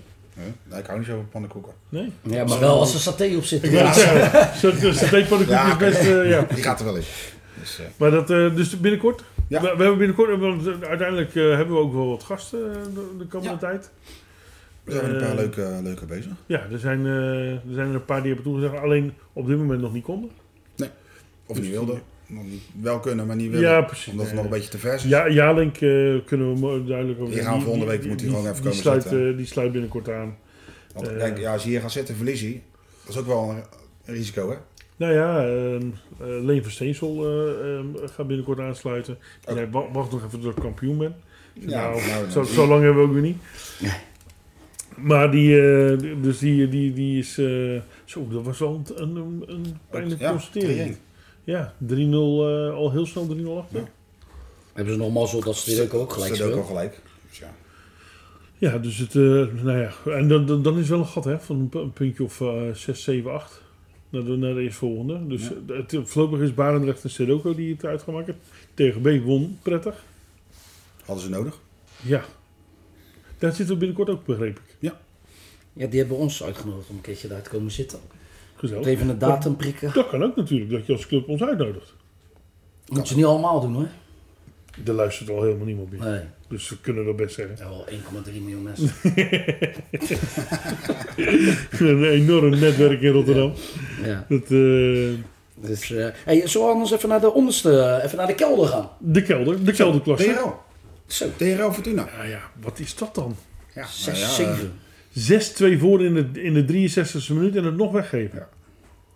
D: Nee, ik hou niet zo van pannenkoeken.
B: Nee?
C: Ja, maar wel als er saté op zit.
B: Ja, zo. Zo- Dus de pannenkoek
D: Ja,
B: is best... eh, ja.
D: [laughs] Die gaat er wel in. Dus, eh,
B: Maar dat, eh, dus binnenkort.
D: Ja.
B: We, eh, we hebben binnenkort, want uiteindelijk eh, hebben we ook wel wat gasten eh, de, de eh, komende
D: Ja.
B: tijd.
D: We zijn met een
B: Eh,
D: paar leuke, leuke bezig.
B: Ja, er zijn, eh, er zijn er een paar die hebben toegezegd, alleen op dit moment nog niet konden.
D: Of
B: dus
D: niet wilden. Nog niet- Wel kunnen, maar niet willen.
B: Ja, precies.
D: omdat het nog een beetje te vers is.
B: Ja, Jalink eh, kunnen we mo- duidelijk over
D: Die gaan we volgende week, moet die gewoon even
B: die
D: komen
B: sluit,
D: zitten.
B: eh, die sluit binnenkort aan.
D: Want
B: eh,
D: kijk, ja, als je hier gaat zitten, verlies je. Dat is ook wel een, een risico, hè?
B: Nou ja, ehm, eh, Leen van Steensel eh, ehm, gaat binnenkort aansluiten. Die
D: Oh.
B: zei, "Wa- wacht nog even tot ik kampioen ben. Ik zei, nou,
D: nou,
B: zo,
D: die-
B: zo lang hebben we ook weer niet.
C: Nee.
B: Maar die, eh, d- dus die, die, die is... eh, zo, dat was wel een, een, een- een pijnlijke
D: Ja,
B: constatering.
D: 3-1.
B: Ja, 3-0, eh, al heel snel 3-0 achter.
D: Ja.
C: Hebben ze nog mazzel dat ze dit ook gelijk
D: Ze Dus ook al
C: speelt.
D: gelijk. Dus ja.
B: Ja, dus het, eh, nou ja, en dan, dan, dan is wel een gat hè, van een pu- een puntje of eh 6, 7, 8 naar de, naar de eerstvolgende. Dus
D: Ja.
B: eh, het, voorlopig is Barendrecht en Sedoko die het uit gaan maken. TGB won prettig.
D: Hadden ze nodig.
B: Ja, daar zitten we binnenkort ook, begreep ik.
C: Ja, die hebben ons uitgenodigd om een keertje daar te komen zitten.
B: Oh. Gezellig.
C: Even een datum prikken.
B: Dat kan ook natuurlijk, dat je als club ons uitnodigt.
C: Moeten ze niet allemaal doen hoor.
B: Er luistert al helemaal niemand meer.
C: Nee,
B: Dus we kunnen dat best zeggen.
C: ja, wel 1,3 miljoen mensen.
B: [laughs] een enorm netwerk in Rotterdam.
C: [laughs] ja.
B: Dat, eh,
C: Dus, eh hey, zullen we anders even naar de onderste, eh, even naar de kelder gaan?
B: de kelder, de kelderklasse.
D: DRL.
C: Zo,
D: DRL Fortuna.
B: Nou ja, wat is dat dan?
D: Ja,
C: 6,
D: nou ja,
B: eh,
C: 7.
B: 6-2 voor in de, in de 63e minuut en het nog weggeven.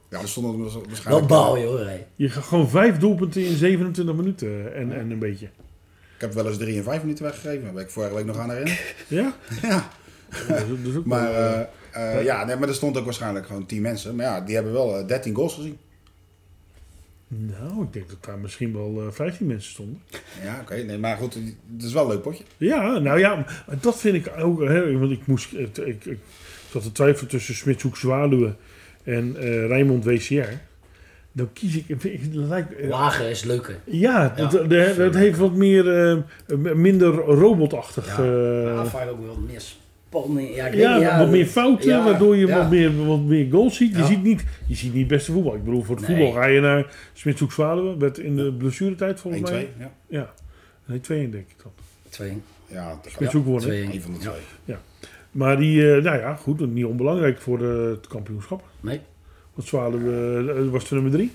D: Ja, er stonden waarschijnlijk...
C: Wel baal je hoor. Hey.
B: Je gaat gewoon vijf doelpunten in 27 minuten en, en een beetje.
D: Ik heb wel eens drie en vijf minuten weggegeven. Daar ben ik vorige week nog aan herinneren.
B: Ja?
D: ja.
B: Dat is, dat is ook
D: Maar,
B: wel-
D: eh, eh, ja, nee, maar er stond ook waarschijnlijk gewoon tien mensen. Maar ja, die hebben wel eh, 13 goals gezien.
B: Nou, ik denk dat daar misschien wel eh, 15 mensen stonden.
D: Ja, oké. Nee, maar goed, het is wel een leuk potje.
B: Ja, nou ja, dat vind ik ook. Hè, want ik, moest, ik, ik, ik zat te twijfelen tussen Smitshoek Zwaluwe en eh Rijnmond WCR. Dan kies ik. ik- dat lijkt, eh,
C: Lager is leuker.
B: ja, dat,
C: Ja.
B: dat- dat- dat heeft wat meer. eh, minder robotachtig.
C: Ja.
B: eh,
C: Uh, vaak ook wel meer spanning. Ja, ik
B: Ja,
C: weet niet,
B: wat meer fouten,
C: ja,
B: waardoor je
C: ja.
B: wat, meer, wat meer goals ziet. Je,
C: Ja.
B: ziet niet, je ziet niet beste voetbal. Ik bedoel, voor het
C: Nee.
B: voetbal ga je naar Smitshoek Zwaluwe. Werd in de blessuretijd
D: 1-2.
B: volgens mij.
D: Ja,
B: Ja, nee, 2 denk ik dan.
C: Twee,
D: ja dat kan.
B: Smitshoek wonnen.
C: twee.
D: Eén van de twee.
B: Maar die, eh, nou ja, goed, niet onbelangrijk voor eh, het kampioenschap.
C: Nee.
B: Want Zwaluwe eh, was de nummer 3.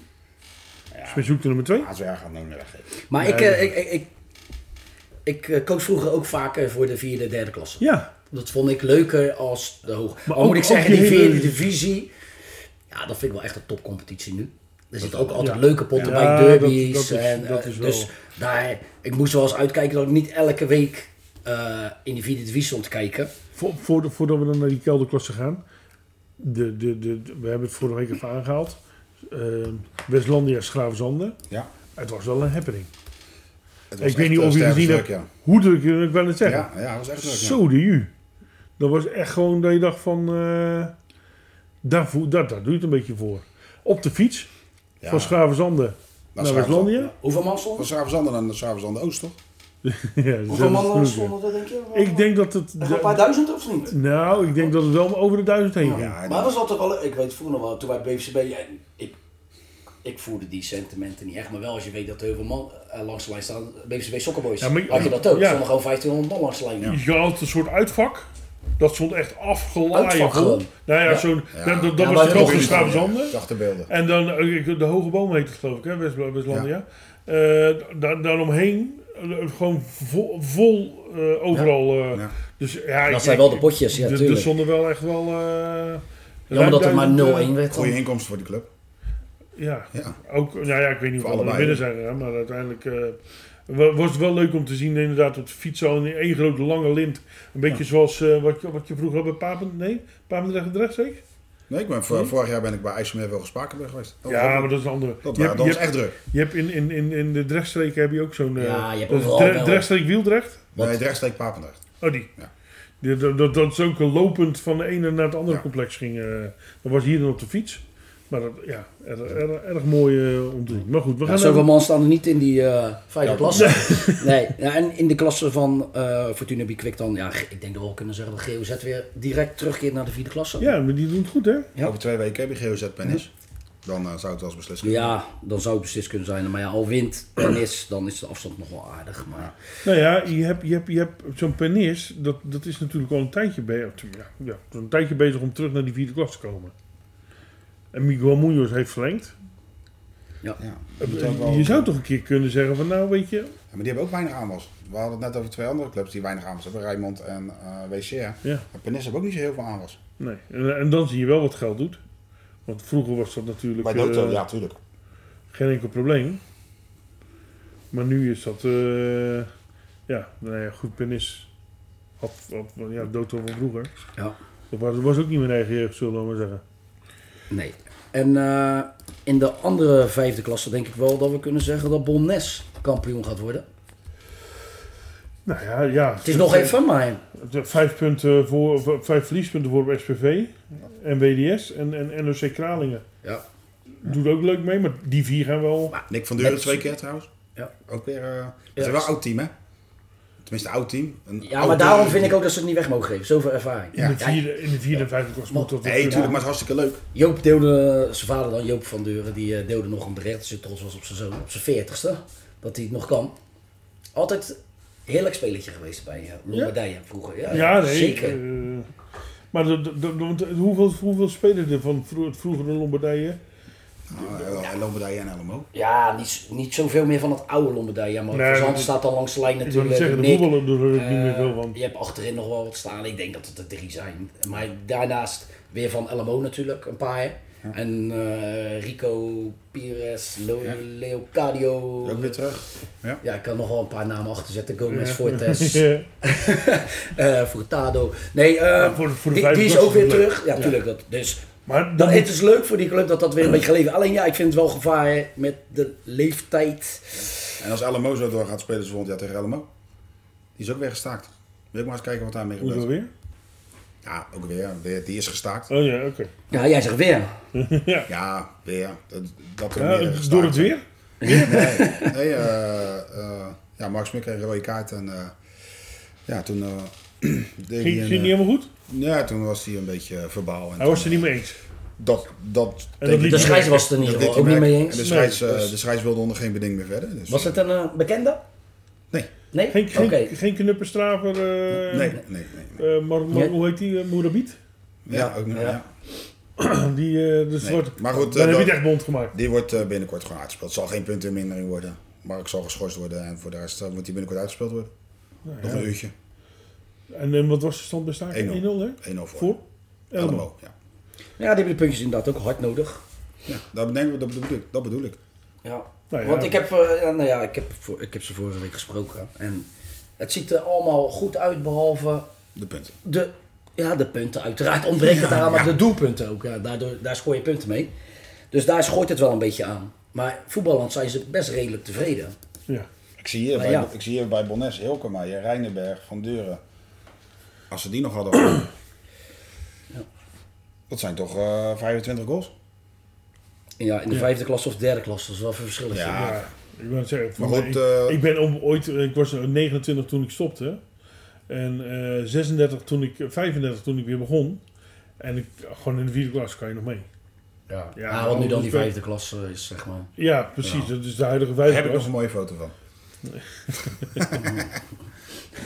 D: Ja.
B: Smitshoek de nummer 2.
D: Ja, zo erg gaan we hem niet weggeven.
C: Maar
B: Nee,
C: ik, eh,
B: dat-
C: ik, ik, ik, ik eh, koos vroeger ook vaker voor de vierde, derde klasse.
B: Ja,
C: Dat vond ik leuker als de hoge. Maar
B: ook-
C: moet ik
B: ook
C: zeggen,
B: die
C: die
B: hele-
C: vierde divisie. Ja, dat vind ik wel echt een topcompetitie nu. Er zitten ook altijd
B: Ja.
C: leuke potten
B: Ja,
C: bij, derbies.
B: dat- dat is-
C: en, eh,
B: dat is wel-
C: dus daar, ik moest wel eens uitkijken dat ik niet elke week eh, in die vierde divisie stond te kijken.
B: voor, voor de- voordat we dan naar die kelderklasse gaan. De, de, de, de- we hebben het vorige week even aangehaald. Eh Westlandia Schraafzanden.
D: Ja.
B: Het was wel een happening.
D: Het
B: Ik weet niet of je
D: het
B: het gezien hebt.
D: eh, Ja,
B: Hoe druk wil ik wel eens zeggen?
D: ja, ja dat was echt leuk.
B: Zo de u. Dat was echt gewoon dat je dacht van... eh daar, voel- daar, daar doe je het een beetje voor. Op de fiets
D: Ja.
B: van Schavenzanden
D: Ja.
B: naar
D: [laughs]
B: Westlandia.
C: Hoeveel man stonden
D: Van
C: er?
D: Schavenzanden naar Schavenzanden Oost, toch?
B: Ja, dat
C: Hoeveel
B: is
C: man
B: natuurlijk.
C: stonden er, denk je?
B: Ik denk dat het...
C: Echt Een paar duizend of niet?
B: Nou, ik denk dat het wel over de duizend heen ging.
D: Ja, en-
C: Maar was dat toch wel... Ik weet vroeger nog wel, toen bij BVCB... ja, ik, ik voerde die sentimenten niet echt. Maar wel als je weet dat er heel veel man eh, langs de lijn staan. BVCB Soccerboys.
B: Ja, maar-
C: had je dat ook?
B: ja.
C: Er stonden gewoon 1500 man langs de lijn.
B: Je had een soort uitvak. Dat stond echt afgelaaien
C: Uitvak
B: vol.
C: gewoon.
B: Nou ja,
C: Ja.
B: zo'n,
D: Ja.
B: dat, dat,
C: Ja,
B: dat
C: maar
B: was de
C: dat
B: krocht
C: is
B: van
C: ook
B: Schavenzanden.
D: Achterbeelden.
B: En dan eh, de hoge boom heet het geloof ik, hè, West- Westlandia. Eh, da- daaromheen eh, gewoon vol, vol eh, overal. eh,
D: Ja.
B: Dus, ja, ik-
C: Dat zijn
B: ik-
C: wel de potjes, ja,
B: d- d- Er
C: tuurlijk.
B: stonden wel echt wel... eh
C: Jammer dat er maar 0-1
B: ruim duizend,
C: werd.
D: Goede
C: dan.
D: inkomsten voor de club.
B: eh, Ja,
D: Ja.
B: ook, nou ja, ik weet niet
D: Voor
B: of we naar
D: allebei,
B: binnen zijn gegaan, maar uiteindelijk... eh, wa- was het wel leuk om te zien inderdaad op de fiets zo in één grote lange lint. Een beetje zoals eh, wat, je, wat je vroeger had bij Papen... Nee, Papendrecht en Drechtstreek?
D: Nee, ik ben, vor- vorig jaar ben ik bij IJsselmeer wel gespakenburg geweest.
C: Oh,
D: Dat was
B: Hm? Ja,
D: ook-
B: maar dat is een andere.
D: dat,
B: Je
D: waren-
B: hebt-
D: dat
B: je
D: was
B: hebt-
D: echt druk.
B: Je hebt in, in, in, in de Drechtstreken heb je ook zo'n... eh,
C: Ja, je hebt
B: dat is
C: overal
B: Dre-
C: wel.
B: Drechtstreek Wieldrecht.
D: Nee, het rechtstreek Papendrecht.
B: Oh, die.
D: Ja.
B: Die- dat, dat, dat is ook lopend van de ene naar het andere
D: Ja.
B: complex ging. eh. dat was hier dan op de fiets. Maar dat, ja, erg, erg, erg mooi eh, om te zien. Maar goed, we
C: Ja,
B: gaan...
C: zoveel
B: even-
C: man staan er niet in die eh vijfde klasse. [laughs] Nee. Ja, en in de klasse van eh Fortuna Bikwik dan... Ja, ik denk dat we al kunnen zeggen dat GOZ weer direct terugkeert naar de vierde klasse.
B: Ja, maar die doen het goed, hè?
C: Ja.
D: Over twee weken heb je GOZ bij NIS. Dan eh, zou het wel eens beslist kunnen.
C: Ja, dan zou het beslist kunnen zijn. Maar ja, al wint Pernis, dan is de afstand nog wel aardig. Maar
B: Nou ja, je hebt, je hebt, je hebt zo'n penis, dat, dat is natuurlijk al een tijdje bezig. Ja, ja, een tijdje bezig om terug naar die vierde klas te komen. En Miguel Munoz heeft verlengd.
D: Ja.
B: Je zou toch een keer kunnen zeggen van nou weet je,
D: Ja, maar die hebben ook weinig aanwas. We hadden het net over twee andere clubs die weinig aanwas hebben. Rijmond en eh WCR.
B: ja,
D: Maar Pernis hebben ook niet zo heel veel aanwas.
B: nee. En, en dan zie je wel wat geld doet. Want vroeger was dat natuurlijk
D: Bij Doto,
B: eh,
D: ja, tuurlijk.
B: geen enkel probleem. Maar nu is dat, eh, ja, nou ja, goed penis. Had, had, ja, dood van vroeger.
C: ja,
B: Dat was, was ook niet meer eigen jeugd, zullen we maar zeggen.
C: nee. En eh, in de andere vijfde klasse denk ik wel dat we kunnen zeggen dat Bonnes kampioen gaat worden.
B: Nou ja, ja.
C: Het is nog even, maar
B: Vijf, punten voor, of vijf verliespunten voor op SPV en WDS en, en NOC Kralingen.
C: ja,
B: Doet ook leuk mee, maar die vier gaan wel.
D: Nick van Duren
C: Met-
D: twee keer trouwens.
C: Ja.
D: Ook weer. eh het
C: Ja.
D: is wel een oud team, hè? Tenminste, oud team. Een
C: ja,
D: oud,
C: maar
D: eh,
C: daarom vind ik ook dat ze het niet weg mogen geven. Zoveel ervaring.
B: In, de
C: Ja,
B: vierde, in de vierde en vijfde klas moet dat wel
D: Nee,
B: kunnen.
D: tuurlijk, maar het is hartstikke leuk.
C: Joop deelde, zijn vader dan, Joop van Deuren, die eh, deelde nog een bericht dat ze trots was op zijn zoon, op zijn veertigste, dat hij het nog kan. Altijd heerlijk spelletje geweest bij eh, Lombardije vroeger. Ja,
B: Ja, nee.
C: zeker.
B: eh, maar dat- dat- dat- want eh, hoeveel, hoeveel spelen er van vro- het vroegere Lombardije?
D: Nou, eh, Lombardije en LMO.
C: Ja, niet, z- niet zoveel meer van het oude Lombardije, maar
B: Nee,
C: Van Zandt
B: dat-
C: staat al langs de lijn
B: Ik wil
C: natuurlijk.
B: niet zeggen, de
C: Nick,
B: voetballen doen er ook niet meer
C: eh,
B: veel van.
C: Je hebt achterin nog wel wat staan. Ik denk dat het er drie zijn. Maar daarnaast weer van LMO natuurlijk, een paar. En eh, Rico, Pires, Lo-
D: Ja.
C: Leocadio.
D: Ook weer terug.
C: Ja, ik kan nog wel een paar namen achterzetten. Gomez,
B: Ja. [laughs]
C: Fortes,
B: Ja.
C: eh Furtado. Nee, eh,
B: voor- voor de
C: die,
B: vijfde
C: die is
B: klasse
C: ook weer
B: is het leuk.
C: terug. Ja, tuurlijk. Dat, dus
B: Maar
C: dat,
B: dan
C: het is leuk voor die club dat dat weer een beetje geleefd Alleen ja, ik vind het wel gevaar met de leeftijd.
D: En als LMO zo door gaat spelen, ze volgend jaar tegen LMO. Die is ook weer gestaakt. Wil ik maar eens kijken wat daarmee
B: Hoezo
D: gebeurt.
B: weer?
D: Ja, ook weer, weer. Die is gestaakt.
B: Oh ja, oké. [laughs]
C: Ja, jij zegt weer.
D: Ja, weer. Dat, dat er
B: Ja,
D: meerdere gestaakt
B: door het
D: zijn.
B: weer?
D: Nee, nee eh, eh, ja, Max Smit kreeg een rode kaart en eh, ja, toen eh, [clears throat]
B: Ging ging
D: deed hij
B: het
D: een,
B: niet
D: eh,
B: helemaal goed?
D: ja, toen was hij een beetje eh, verbaal. En
B: Hij was
D: toen,
B: er niet mee eens.
D: Dat, dat,
B: En dat liet-
C: De
B: Die-
C: scheids was het in ieder
D: deed
C: geval
D: hij
C: ook niet
D: merken.
C: mee
D: En
C: eens.
D: de scheids,
B: Nee,
D: eh,
B: dus-
D: de scheids wilde onder geen beding meer verder. Dus,
C: Was het een eh, bekende?
D: Nee,
C: Nee?
B: Geen,
C: Oké.
B: geen, geen knupperstraver, eh,
D: nee, nee. nee, nee.
B: eh, maar, maar
C: Nee.
B: hoe heet die? eh, Moerabiet?
D: Ja, ook niet.
C: Ja.
D: ja.
B: [clears throat] Die eh, de zwarte.
D: Maar goed,
B: dan
D: eh,
B: heb je
D: dat-
B: het echt bond gemaakt.
D: Die wordt eh, binnenkort gewoon uitgespeeld. Het zal geen puntenmindering worden. Mark zal geschorst worden en voor de rest eh, moet die binnenkort uitgespeeld worden.
B: Nou
D: Nog
B: ja.
D: een uurtje. 1-0
B: En, eh, wat was de stand bij Staak? 1-0,
D: 1-0.
B: hè?
D: voor,
B: Voor? Elmo.
D: Elmo. Ja.
C: Ja, die hebben de puntjes inderdaad ook hard nodig.
D: Ja, dat, denk ik, dat bedoel ik. Dat bedoel ik.
C: Ja.
B: Nou ja.
C: Want ik heb, eh, ja, nou ja, ik, heb voor, ik heb ze vorige week gesproken. En het ziet er allemaal goed uit, behalve
D: De punten.
C: de, ja, de punten. Uiteraard ontbreekt het aan, maar de doelpunten ook. Ja, daardoor, daar scoor je punten mee. Dus daar schooit het wel een beetje aan. Maar voetballand zijn ze best redelijk tevreden.
B: Ja.
D: Ik zie hier,
C: Nou
D: bij,
C: ja.
D: ik zie hier bij Bonnes, Hilkemaier, Rijnenberg, Van Deuren. Als ze die nog hadden. [clears throat] Dat zijn toch eh, 25 goals?
C: En Ja, in de vijfde klasse of derde klasse, dat is wel een verschil.
D: Ja.
B: Ja, ik ben zeggen, voor
D: Maar
B: mij-
D: goed,
B: ik,
D: eh,
B: ik ben om, ooit, ik was 29 toen ik stopte. En eh, 36 toen ik, 35 toen ik weer begon. En ik, gewoon in de vierde klas kan je nog mee.
C: Ja.
B: Ja,
C: Ah, wat nu dan die
B: dus-
C: vijfde klasse is, zeg maar.
B: Ja, precies. Dat is de huidige
D: Daar
B: vijfde
D: Nou. heb ik nog
B: klas.
D: een mooie foto van.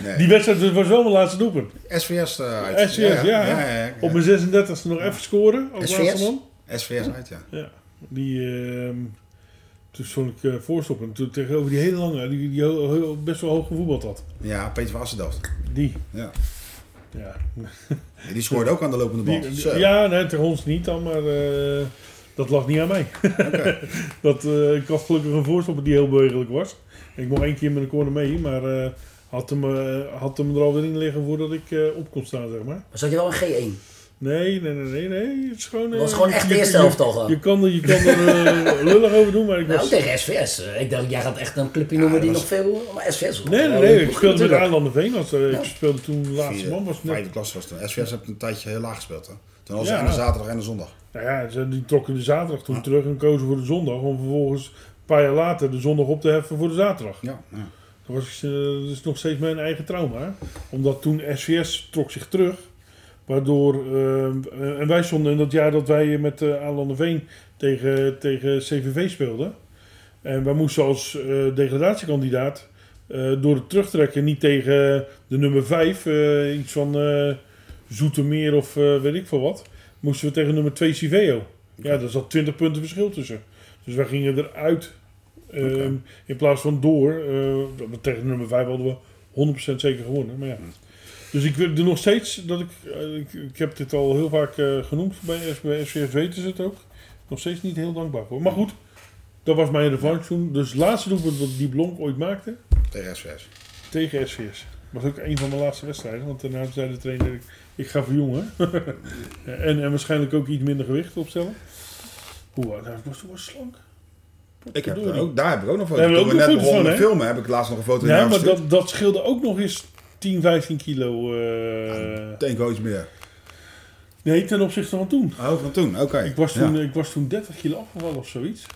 D: Nee.
B: Die wedstrijd dat was wel mijn laatste doelpunt.
D: SVS eh, uit.
B: SVS, ja,
D: ja,
B: ja.
D: ja, ja.
B: Op mijn 36e nog even scoren als
C: SVS?
B: laatste man.
D: SVS uit, ja.
B: Ja, die... ehm, toen stond ik eh, voorstop en toen tegenover die hele lange, die, die heel- heel- best wel hoog gevoetbald had.
D: Ja, Peter van Assendelft.
B: Die,
D: Ja.
B: ja.
D: Die scoorde ook aan de lopende
B: Die-
D: band.
B: die-
D: Zo.
B: ja, nee, tegen ons niet dan, maar eh, dat lag niet aan mij. [laughs] dat, eh, ik had gelukkig een voorstopper die heel bewegelijk was. Ik mocht één keer met een corner mee, maar eh, had, hem, eh, had hem er alweer in liggen voordat ik eh, op kon staan, zeg maar.
C: Maar zat je wel een G1?
B: Nee, nee, nee, nee, nee. Het is gewoon...
C: Dat
B: eh,
C: was gewoon echt de
B: je-
C: eerste
B: je-
C: helft al
B: Je
C: gewoon.
B: kan er, je kan er
C: [laughs]
B: eh, lullig over doen, maar ik
C: Nou,
B: was...
C: tegen SVS. eh, Ik dacht, jij gaat echt een clubje noemen die nog veel... Maar SVS...
B: Nee, nee, nee. Ik speelde met Aanlandenveen. Als, eh, Ik speelde toen de laatste man.
D: Vierde,
B: Was net,
D: vijfde klasse was het. SVS heeft een tijdje heel laag gespeeld. Hè. Toen was
B: Ja.
D: het en de zaterdag en de zondag.
B: nou ja, ze- die trokken de zaterdag toen terug en kozen voor de zondag. Om vervolgens een paar jaar later de zondag op te heffen voor de zaterdag.
D: Ja, ja.
B: Dat, was, eh, dat is nog steeds mijn eigen trauma. hè. Omdat toen SVS trok zich terug. Waardoor, eh, en wij stonden in dat jaar dat wij met uh, Veen tegen, tegen CVV speelden. En wij moesten als eh, degradatiekandidaat eh, door het terugtrekken niet tegen de nummer 5, eh, iets van eh Zoetermeer of eh, weet ik veel wat, moesten we tegen nummer 2 Civeo. Ja, daar zat 20 punten verschil tussen. Dus wij gingen eruit eh,
D: Oké.
B: in plaats van door. eh, tegen nummer 5 hadden we 100% zeker gewonnen. Maar ja. Dus ik wil er nog steeds, dat ik, eh, ik, ik heb dit al heel vaak eh, genoemd, bij, S- bij SVF weten ze het ook. Nog steeds niet heel dankbaar voor. Maar goed, dat was mijn revanche toen. Dus het laatste doelpunt dat die Blonk ooit maakte,
D: Tegen SVS.
B: tegen SVS. was ook een van mijn laatste wedstrijden, want daarna zei de trainer, ik, ik ga verjongen. [laughs] en, en waarschijnlijk ook iets minder gewicht opstellen. Hoe was hij? was toen wel slank.
D: Ik heb er
B: Verdorie.
D: ook, daar heb ik ook nog
B: Daar hebben we
D: foto's Toen we
B: ook nog foto's
D: net begonnen met
B: van, hè?
D: filmen, heb ik laatst nog een foto
B: Ja,
D: in de
B: maar dat, dat scheelde ook nog eens 10, 15 kilo. eh,
D: Denk wel iets meer.
B: nee, ten opzichte van toen.
D: Oh, van toen, oké.
B: Ik was toen, eh,
D: Ja.
B: ik was toen 30 kilo afgevallen of zoiets.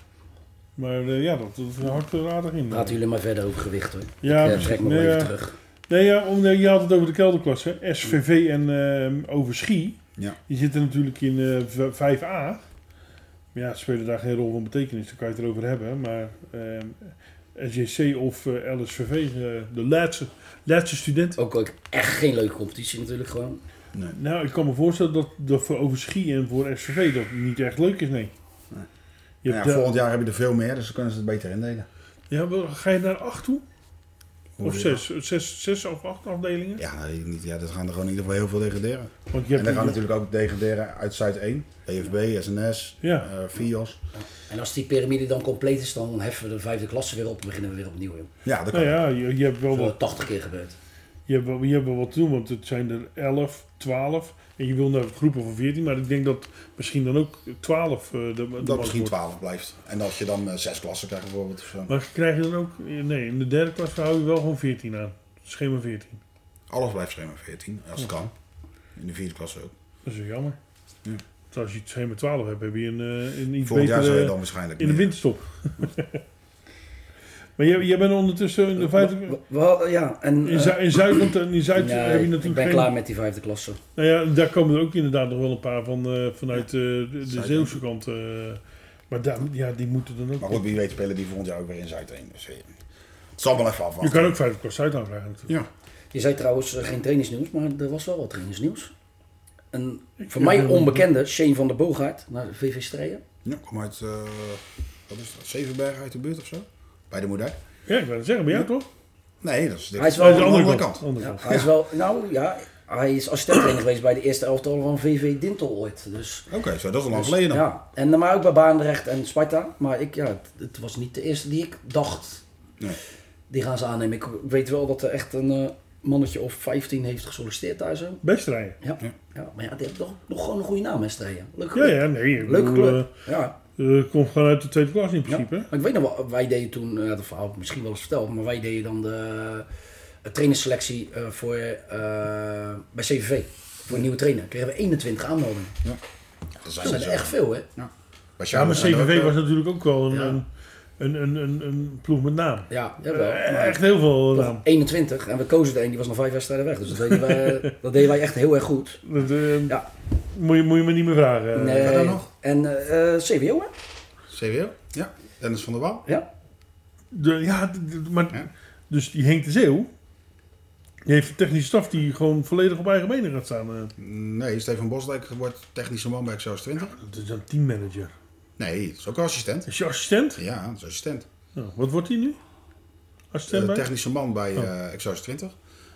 B: Maar eh, ja, dat, dat hakt er aardig in. eh.
C: Praten jullie maar verder over gewicht hoor.
B: ja,
C: Ja,
B: precies.
C: trek me wel
B: nee,
C: even
B: ja.
C: terug.
B: Nee, ja, om, nee, je had het over de kelderklasse. SVV en ehm Overschie.
D: Ja.
B: Die zitten natuurlijk in eh, v- 5A. Maar ja, ze spelen daar geen rol van betekenis. Daar kan je het erover hebben. Maar ehm SJC of eh, LSVV, eh, de laatste, laatste student.
C: Ook, ook echt geen leuke competitie natuurlijk gewoon.
B: Nou, ik kan me voorstellen dat dat voor Overschie en voor SVV dat niet echt leuk is, nee.
D: Nee.
B: Je hebt
D: Nou
B: eh,
D: ja,
B: daar-
D: volgend jaar heb je er veel meer, dus dan kunnen ze het beter indelen.
B: Ja, wel, ga je naar acht toe?
D: Hoe
B: Of
D: wil je
B: zes, zes, zes of acht afdelingen?
D: Ja, dat weet ik niet. Ja, dat gaan er gewoon in ieder geval heel veel degraderen.
B: Want je hebt
D: En dan gaan
B: nu-
D: natuurlijk ook degraderen uit Zuid E 1. EFB, SNS,
B: Ja.
D: eh, FIOS.
C: En als die piramide dan compleet is, dan heffen we de vijfde klasse weer op en beginnen we weer opnieuw. Joh.
D: Ja, dat kan.
B: nou ja, je, je hebt wel
C: Dat is
B: wat,
C: al 80 keer gebeurd.
B: je hebt, wel- je hebt wel wat te doen, want het zijn er 11, 12. En je wil naar groepen van 14, maar ik denk dat misschien dan ook 12 eh de, de
D: Dat
B: markt
D: misschien
B: wordt.
D: 12 blijft. En dat je dan eh, zes klassen krijgt bijvoorbeeld. Of zo.
B: Maar krijg je dan ook, nee, in de derde klas hou je wel gewoon 14 aan. Schema 14.
D: Alles blijft schema 14, als het kan. In de vierde klasse ook.
B: Dat is wel jammer.
D: Ja.
B: Want als je het schema 12 hebt, heb je een, eh, een iets
D: Volgend jaar zou je
B: betere
D: dan waarschijnlijk
B: in de
D: meer-
B: winterstop. [laughs] maar jij, jij bent ondertussen
C: Eh,
B: in de vijfde...
C: We- we- we- ja, en,
B: In,
C: eh,
B: Zu- in Zuid, want eh, in Zuid
C: nee,
B: heb je
C: ik
B: natuurlijk
C: ben
B: geen...
C: klaar met die vijfde klasse.
B: Nou ja, daar komen er ook inderdaad nog wel een paar van eh, vanuit eh, de, de
D: Zuid-
B: Zeeuwse kant. eh. maar daar, ja, die moeten dan ook...
D: Maar goed, wie weet spelen die volgend jaar ook weer in Zuid 1. Dus eh, het zal wel even afwachten.
B: je kan ook vijfde klas Zuid aanvragen natuurlijk.
D: Ja.
C: Je zei trouwens eh, geen trainingsnieuws, maar er was wel wat trainingsnieuws. Een voor
B: Ja,
C: mij
B: ja.
C: onbekende Shane van der Boogaard naar de VV Strijen.
D: Ja, kom uit, eh, wat is dat, Zevenbergen uit de buurt of zo? Bij de Moerdijk?
B: Ja, ik wou het zeggen, bij jou toch?
D: Nee, dat is, dit
C: Hij is
D: is
C: wel
D: aan
B: de
D: de andere kant.
B: Andere
C: Ja,
B: kant.
C: hij is wel, nou ja, hij is
B: [coughs]
C: assistent geweest bij de eerste elftal van VV Dintel ooit. Dus
D: Oké, zo, dat is al lang geleden dan.
C: Ja, en maar ook bij Baandrecht en Sparta. Maar ik, ja, het- het was niet de eerste die ik dacht.
D: Nee.
C: Die gaan ze aannemen. Ik weet wel dat er echt een eh, mannetje of 15 heeft gesolliciteerd daar zo.
B: Best rijden.
C: Ja, ja. maar ja, die heeft toch nog gewoon een goede naam, hè, Strijen. Leuk
B: Ja,
C: club.
B: ja, nee. ik
C: Leuke
B: bedoel,
C: club. ja.
B: eh, eh, komt gewoon uit de tweede klas in
C: ja.
B: principe.
C: Maar ik weet nog wel, wij deden toen, eh dat verhaal heb ik misschien wel eens verteld, maar wij deden dan de eh, trainersselectie eh, voor, eh, bij CVV. Voor een nieuwe trainer. Kregen we 21 aanmeldingen.
D: Dat
C: Dat
D: zijn dus,
C: zijn
D: er
C: er
D: zo.
C: echt veel, hè?
D: Bij
B: Ja, maar
D: zijn er ook,
B: CVV
D: eh,
B: was natuurlijk ook wel een,
C: Ja.
B: een, een, een, een, een ploeg met naam.
C: Ja, jawel.
B: Eh,
C: maar-
B: Echt heel veel
C: Toch
B: naam.
C: 21 en we kozen er een die was nog vijf wedstrijden weg. Dus dat deden,
B: [laughs]
C: wij, dat deden wij echt heel erg goed.
B: Dat, eh,
C: Ja.
B: moet, je, moet je me niet meer vragen.
C: Nee.
D: gaat dat nog?
C: En eh, eh, CWO, hè?
D: CWO? Ja, Dennis van der Waal.
C: Ja.
B: De, ja, d- d- maar,
D: Ja.
B: dus die Henk de Zeeuw, die heeft een technische staf die gewoon volledig op eigen benen gaat staan. eh.
D: Nee, Stefan Bosdijk wordt technische man bij Excelsior 20.
B: Dat is een teammanager.
D: Nee, dat is ook assistent.
B: Is je assistent?
D: Ja, dat is assistent.
B: Nou, wat wordt hij nu? Assistent
D: Eh,
B: bij?
D: technische man bij
B: Oh.
D: eh Excelsior 20.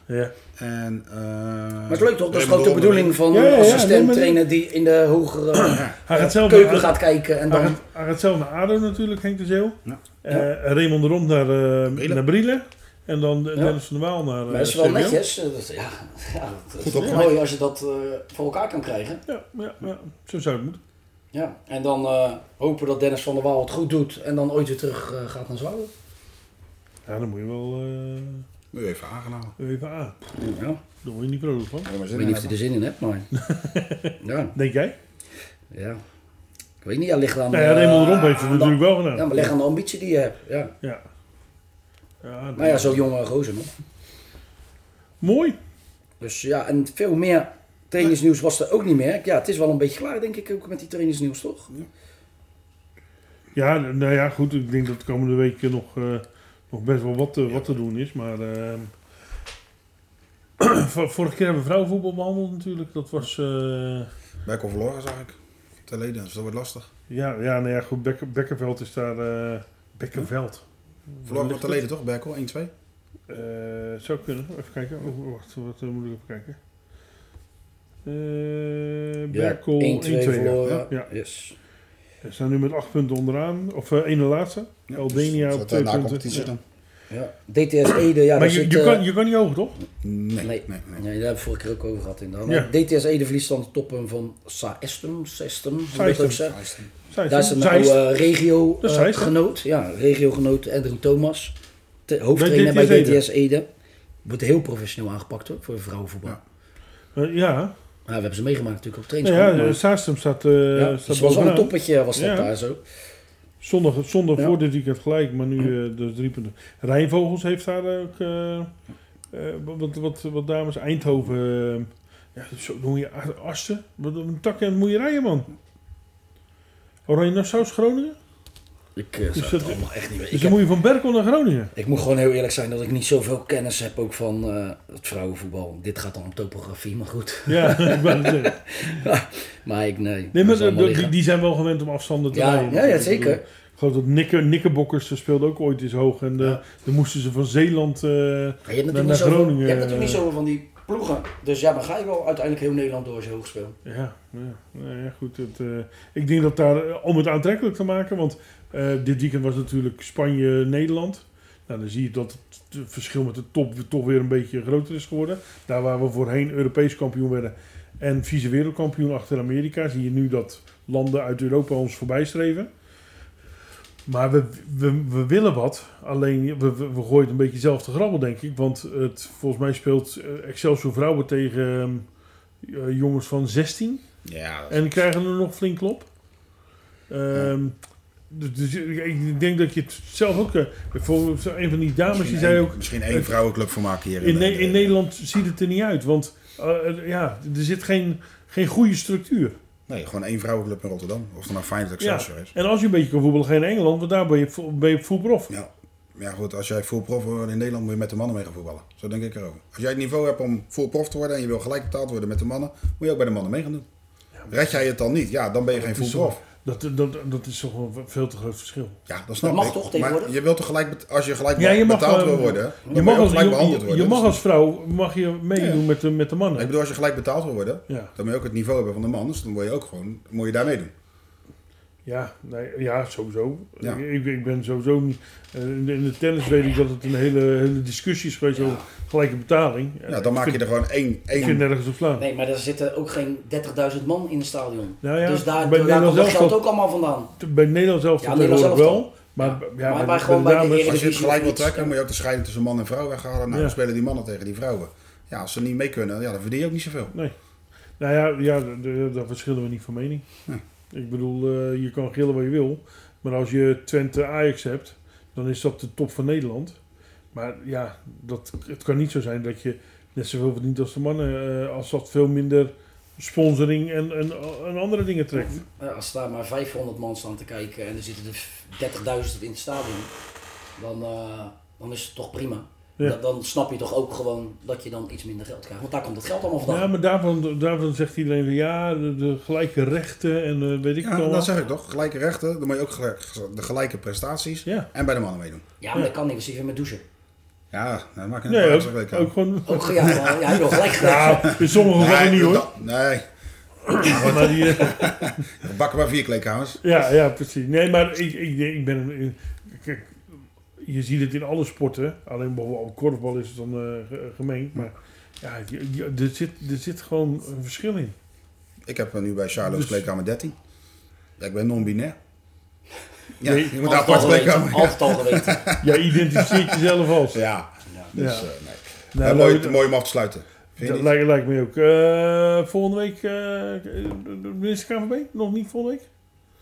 B: Ja.
D: En, eh,
C: Maar het is leuk toch? Dat is gewoon de bedoeling van
B: Ja, ja,
C: een
B: ja, nee,
C: assistent
B: maar-
C: trainer die in de hogere
B: Hij gaat zelf
C: keuken
B: naar-
C: gaat kijken. En
B: Hij
C: dan,
B: gaat, hij gaat zelf naar ADO natuurlijk, Henk de Zeeuw.
D: Ja.
B: Eh, Raymond de Rond naar, eh,
D: Brielen.
B: naar Brielen. En dan eh, Dennis van der Waal naar eh,
C: maar dat is wel
B: CBO.
C: netjes. Eh, dat- ja, [laughs] ja, dat is
D: Goed opgemerkt.
C: mooi als je dat eh, voor elkaar kan krijgen.
B: Ja, ja, ja, zo zou het moeten.
C: Ja. En dan eh, hopen dat Dennis van der Waal het goed doet en dan ooit weer terug eh, gaat naar Zwolle.
B: Ja, dan moet je wel eh,
D: Moet je even aangenomen.
B: even aan.
C: Ja.
B: Daar word je niet vrolijk van.
D: Heb je er maar
C: Ik
D: zin
C: weet
D: in
C: niet of je er zin
D: hebben?
C: in hebt,
B: [laughs]
C: maar... ja,
B: Denk jij?
C: ja. Ik weet niet, ja, ligt aan...
B: Nou ja,
C: eh,
B: Raymond de Rond heeft het
C: aan de-
B: natuurlijk wel gedaan.
C: Ja, maar leg aan de ambitie die je hebt. Ja.
B: Ja. Ja,
C: Nou ja, zo'n jonge gozer nog.
B: Mooi.
C: Dus ja, en veel meer Trainingsnieuws was er ook niet meer. Ja, het is wel een beetje klaar, denk ik, ook met die trainingsnieuws, toch?
B: Ja, nou ja, goed. Ik denk dat de komende weken nog, eh, nog best wel wat, te- wat te doen is. Maar ehm, [clears throat] vor- vorige keer hebben we vrouwenvoetbal behandeld natuurlijk. Dat was... eh,
D: Beck of verloren zag ik. Ter leden, dus dat wordt lastig.
B: ja, ja, nou ja, goed. Bekker, Bekkerveld is daar... eh Bekkerveld.
D: Verloren
B: Waar
D: wordt ter
B: ligt
D: leden toch, Berkel? 1-2?
B: het? Eh, zou kunnen. Even kijken. Oh, wacht, wat eh, moet ik even kijken? Eh Berkel 1-2.
C: 1-2
B: ja.
C: verloren.
D: Ja.
B: Ja.
C: eh, Yes.
B: Ze staan nu met 8 punten onderaan. Of eh ene laatste.
D: Ja,
B: Albania
D: dus
B: op
D: dat,
B: twee
D: eh, na
B: punten.
D: competitie
B: Ja.
D: dan?
C: Ja. DTS Ede, ja,
B: maar
C: daar
B: je,
C: zit,
B: je,
C: eh,
B: kan, je kan niet over, toch?
D: Nee, nee,
C: Nee.
D: nee.
C: Nee, daar hebben we vorige keer ook over gehad inderdaad.
B: Ja.
C: Maar DTS Ede verliest dan de toppen van Saestum, Sestum, hoe je dat
B: Saestum.
C: ook zegt.
B: Zeist,
C: Daar is
B: hè?
C: een
B: Zeist.
C: oude
B: Dat is Zeist, hè?
C: regiogenoot, ja, regiogenoot Edwin Thomas, te- hoofdtrainer
B: Bij
C: bij
B: DTS Ede.
C: DTS Ede. Wordt heel professioneel aangepakt hoor, voor vrouwenvoetbal.
D: Ja.
C: Ja.
B: Eh, ja,
C: we hebben ze meegemaakt natuurlijk op
B: Nou
C: trainingskamp.
B: ja,
C: maar-
B: eh, Saastem staat, eh
C: ja,
B: staat
C: het was wel een
B: bovenaan.
C: toppetje was dat
B: Ja.
C: daar zo.
B: Zondag, zondag
C: Ja.
B: voor dit weekend gelijk, maar nu eh, dus drie punten. Rijnvogels heeft daar ook eh, eh, wat, wat, wat dames. Eindhoven, eh, ja, zo noem je A- Asten. Wat een tak en moeierijen, man. Oranje Nassau's Groningen.
C: Ik eh, zou
B: dat-
C: het allemaal echt niet weten.
B: Dus
C: Ik,
B: dan
C: heb-
B: moet je van Berkel naar
C: [laughs]
B: Groningen.
C: ik moet gewoon heel eerlijk zijn dat ik niet zoveel kennis heb ook van eh, het vrouwenvoetbal. Dit gaat dan om topografie, maar goed.
B: Ja, ik wou het zeggen.
C: maar ik, nee.
B: Nee,
C: dat
B: maar
C: is allemaal
B: die,
C: liggen.
B: die zijn wel gewend om afstanden te
C: ja,
B: rijden.
C: ja, ja, zeker.
B: Ik geloof dat Nikke, Nikkebokkers ze speelde ook ooit eens hoog. En eh,
C: Ja.
B: dan moesten ze van Zeeland... eh,
C: Maar je hebt
B: Naar-
C: natuurlijk, niet
B: naar
C: zoveel, je
B: Groningen, eh,
C: hebt natuurlijk niet zoveel van die ploegen. Dus ja, dan ga je wel uiteindelijk heel Nederland door als je hoog speelt.
B: Ja, ja, nou ja goed. Het, eh, ik denk dat daar, eh, om het aantrekkelijk te maken, want eh, dit weekend was natuurlijk Spanje-Nederland. Nou, dan zie je dat het eh, verschil met de top toch weer een beetje groter is geworden. Daar waar we voorheen Europees kampioen werden en vieze wereldkampioen achter Amerika, zie je nu dat landen uit Europa ons voorbij streven. Maar we, we, we willen wat, alleen we, we, we gooien het een beetje zelf te grabbel, denk ik. Want het, volgens mij speelt eh, Excelsior Vrouwen tegen eh, jongens van 16.
D: Ja, dat-
B: En krijgen er nog flink klop. Ehm, dus, dus ik- ik denk dat je het zelf ook... eh, bijvoorbeeld een van die dames die
D: misschien
B: zei
D: één-
B: ook... Eh,
D: Misschien één vrouwenclub voor maken hier. eh,
B: In, Ne-
D: de-
B: in Nederland ziet het er niet uit. Want eh, eh, ja, er zit geen, geen goede structuur.
D: Nee, gewoon één vrouwenclub in Rotterdam. Of het nou Feyenoord Excelsior is.
B: En als je een beetje kan voetballen, ga je naar Engeland. Want daar ben je, vo- ben je full prof.
D: Ja. Maar ja, goed, als jij full prof wil worden in Nederland, moet je met de mannen mee gaan voetballen. Zo denk ik erover. Als jij het niveau hebt om full prof te worden en je wil gelijk betaald worden met de mannen, moet je ook bij de mannen mee gaan doen. Red jij het dan niet, ja, dan ben je geen
B: Dat
D: full
B: is
D: prof.
B: toch- Dus Dat, dat, dat is toch een veel te groot verschil.
D: Ja, dat snap
C: Dat mag
D: ik.
C: toch
D: Maar
C: tegenwoordig?
D: je wilt toch gelijk, bet- als je gelijk
B: Ja, je mag,
D: betaald
B: eh,
D: wil worden,
B: Je
D: dan
B: mag
D: mag je ook
B: als,
D: gelijk
B: je,
D: behandeld
B: je-
D: worden.
B: je mag
D: Dus-
B: als vrouw mag je meedoen met, de, met de
D: Ik
B: mannen.
D: bedoel, als je gelijk betaald wil worden,
B: Ja,
D: dan moet je ook het niveau hebben van de man. Dus dan moet je ook gewoon, moet je daar mee doen.
B: ja, nee, ja sowieso.
D: Ja.
B: Ik, ik ben sowieso niet... eh, in de- in de tennis weet ik dat het een hele, hele discussie is geweest over gelijke betaling.
D: Ja, dan maak je er gewoon één,
B: Ik vind
D: één
B: nergens op slaan.
C: Nee, maar er zitten ook geen 30.000 man in het stadion.
B: Nou ja,
C: dus daar,
B: bij
C: daar
B: Nederland
C: komt dat
B: zelf
C: geld
B: wel.
C: ook allemaal vandaan.
B: Bij Nederland zelf
C: Ja,
B: tegenwoordig
C: Nederland zelf
B: wel. Maar, b- ja,
C: Maar
B: bij,
C: bij
B: de-
C: gewoon
B: bij de
C: bij de
B: dames...
C: Eredivisie.
D: Als je het gelijk wil
C: Eredivisie of
D: trekken, moet je ook de scheiding tussen man en vrouw weghalen. Nou,
B: Ja.
D: dan spelen die mannen tegen die vrouwen. Ja, als ze niet mee kunnen, ja, dan verdien je ook niet zoveel.
B: Nou ja, ja d- d- daar verschillen we niet van mening.
D: Nee.
B: Ik bedoel, eh, je kan gillen wat je wil. Maar als je Twente Ajax hebt, dan is dat de top van Nederland. Maar ja, dat, het kan niet zo zijn dat je net zoveel verdient als de mannen. eh, als dat veel minder sponsoring en, en, en andere dingen trekt.
C: Ja, Eh, als daar maar 500 man staan te kijken en er zitten er 30.000 in het stadion, dan, eh, dan is het toch prima.
B: Ja.
C: Dan, dan snap je toch ook gewoon dat je dan iets minder geld krijgt. Want daar komt dat geld allemaal vandaan.
B: Ja, maar daarvan, daarvan zegt iedereen van ja, de, de gelijke rechten en eh, weet ik
D: Ja,
B: veel
D: dat
B: wat.
D: zeg ik toch. Gelijke rechten, dan moet je ook gelijk, de gelijke prestaties
B: Ja,
D: en bij de mannen meedoen.
C: Ja, maar dat kan niet, we zitten weer met douchen.
D: Ja, dat Oh. maakt een
B: nee,
D: nee,
B: ook, ook gewoon...
C: Ook, ja, ja, ja, je wil gelijk gelijk.
B: Ja, in sommige gevallen niet hoor.
D: Nee,
B: Maar die,
D: [laughs]
B: eh,
D: bakken maar vier kleedkamers.
B: ja, ja, precies. Nee, maar ik, ik, ik ben. Kijk, je ziet het in alle sporten. Alleen bijvoorbeeld op korfbal is het dan eh, ge- gemengd. Maar ja, je- je- er, zit, er zit gewoon een verschil in.
D: Ik heb eh, nu bij Charlo's
B: Dus-
D: kleedkamer 13. Ja, ik ben non-binair. Ja,
B: Nee,
D: je moet daar
C: Altijd
D: apart
C: al geweten,
D: kleedkamer. Ja,
C: altijd al geweten.
B: Jij identificeert jezelf als.
D: ja. dus
B: Ja.
D: eh, nee.
B: Nou,
D: Ja,
B: leuk-
D: mooi, mooi om af te sluiten. Vind je
B: dat
D: niet?
B: lijkt, lijkt me ook. Eh, volgende week, eh minister KVB? Nog niet volgende week?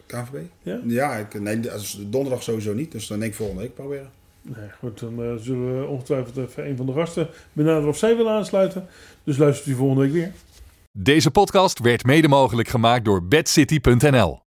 D: KNVB?
B: Ja?
D: Ja, ik, nee, dat is donderdag sowieso niet. Dus dan denk ik volgende week proberen.
B: Nee, goed, dan eh, zullen we ongetwijfeld even een van de gasten benaderen of zij willen aansluiten. Dus luistert u volgende week weer.
A: Deze podcast werd mede mogelijk gemaakt door bedcity.nl.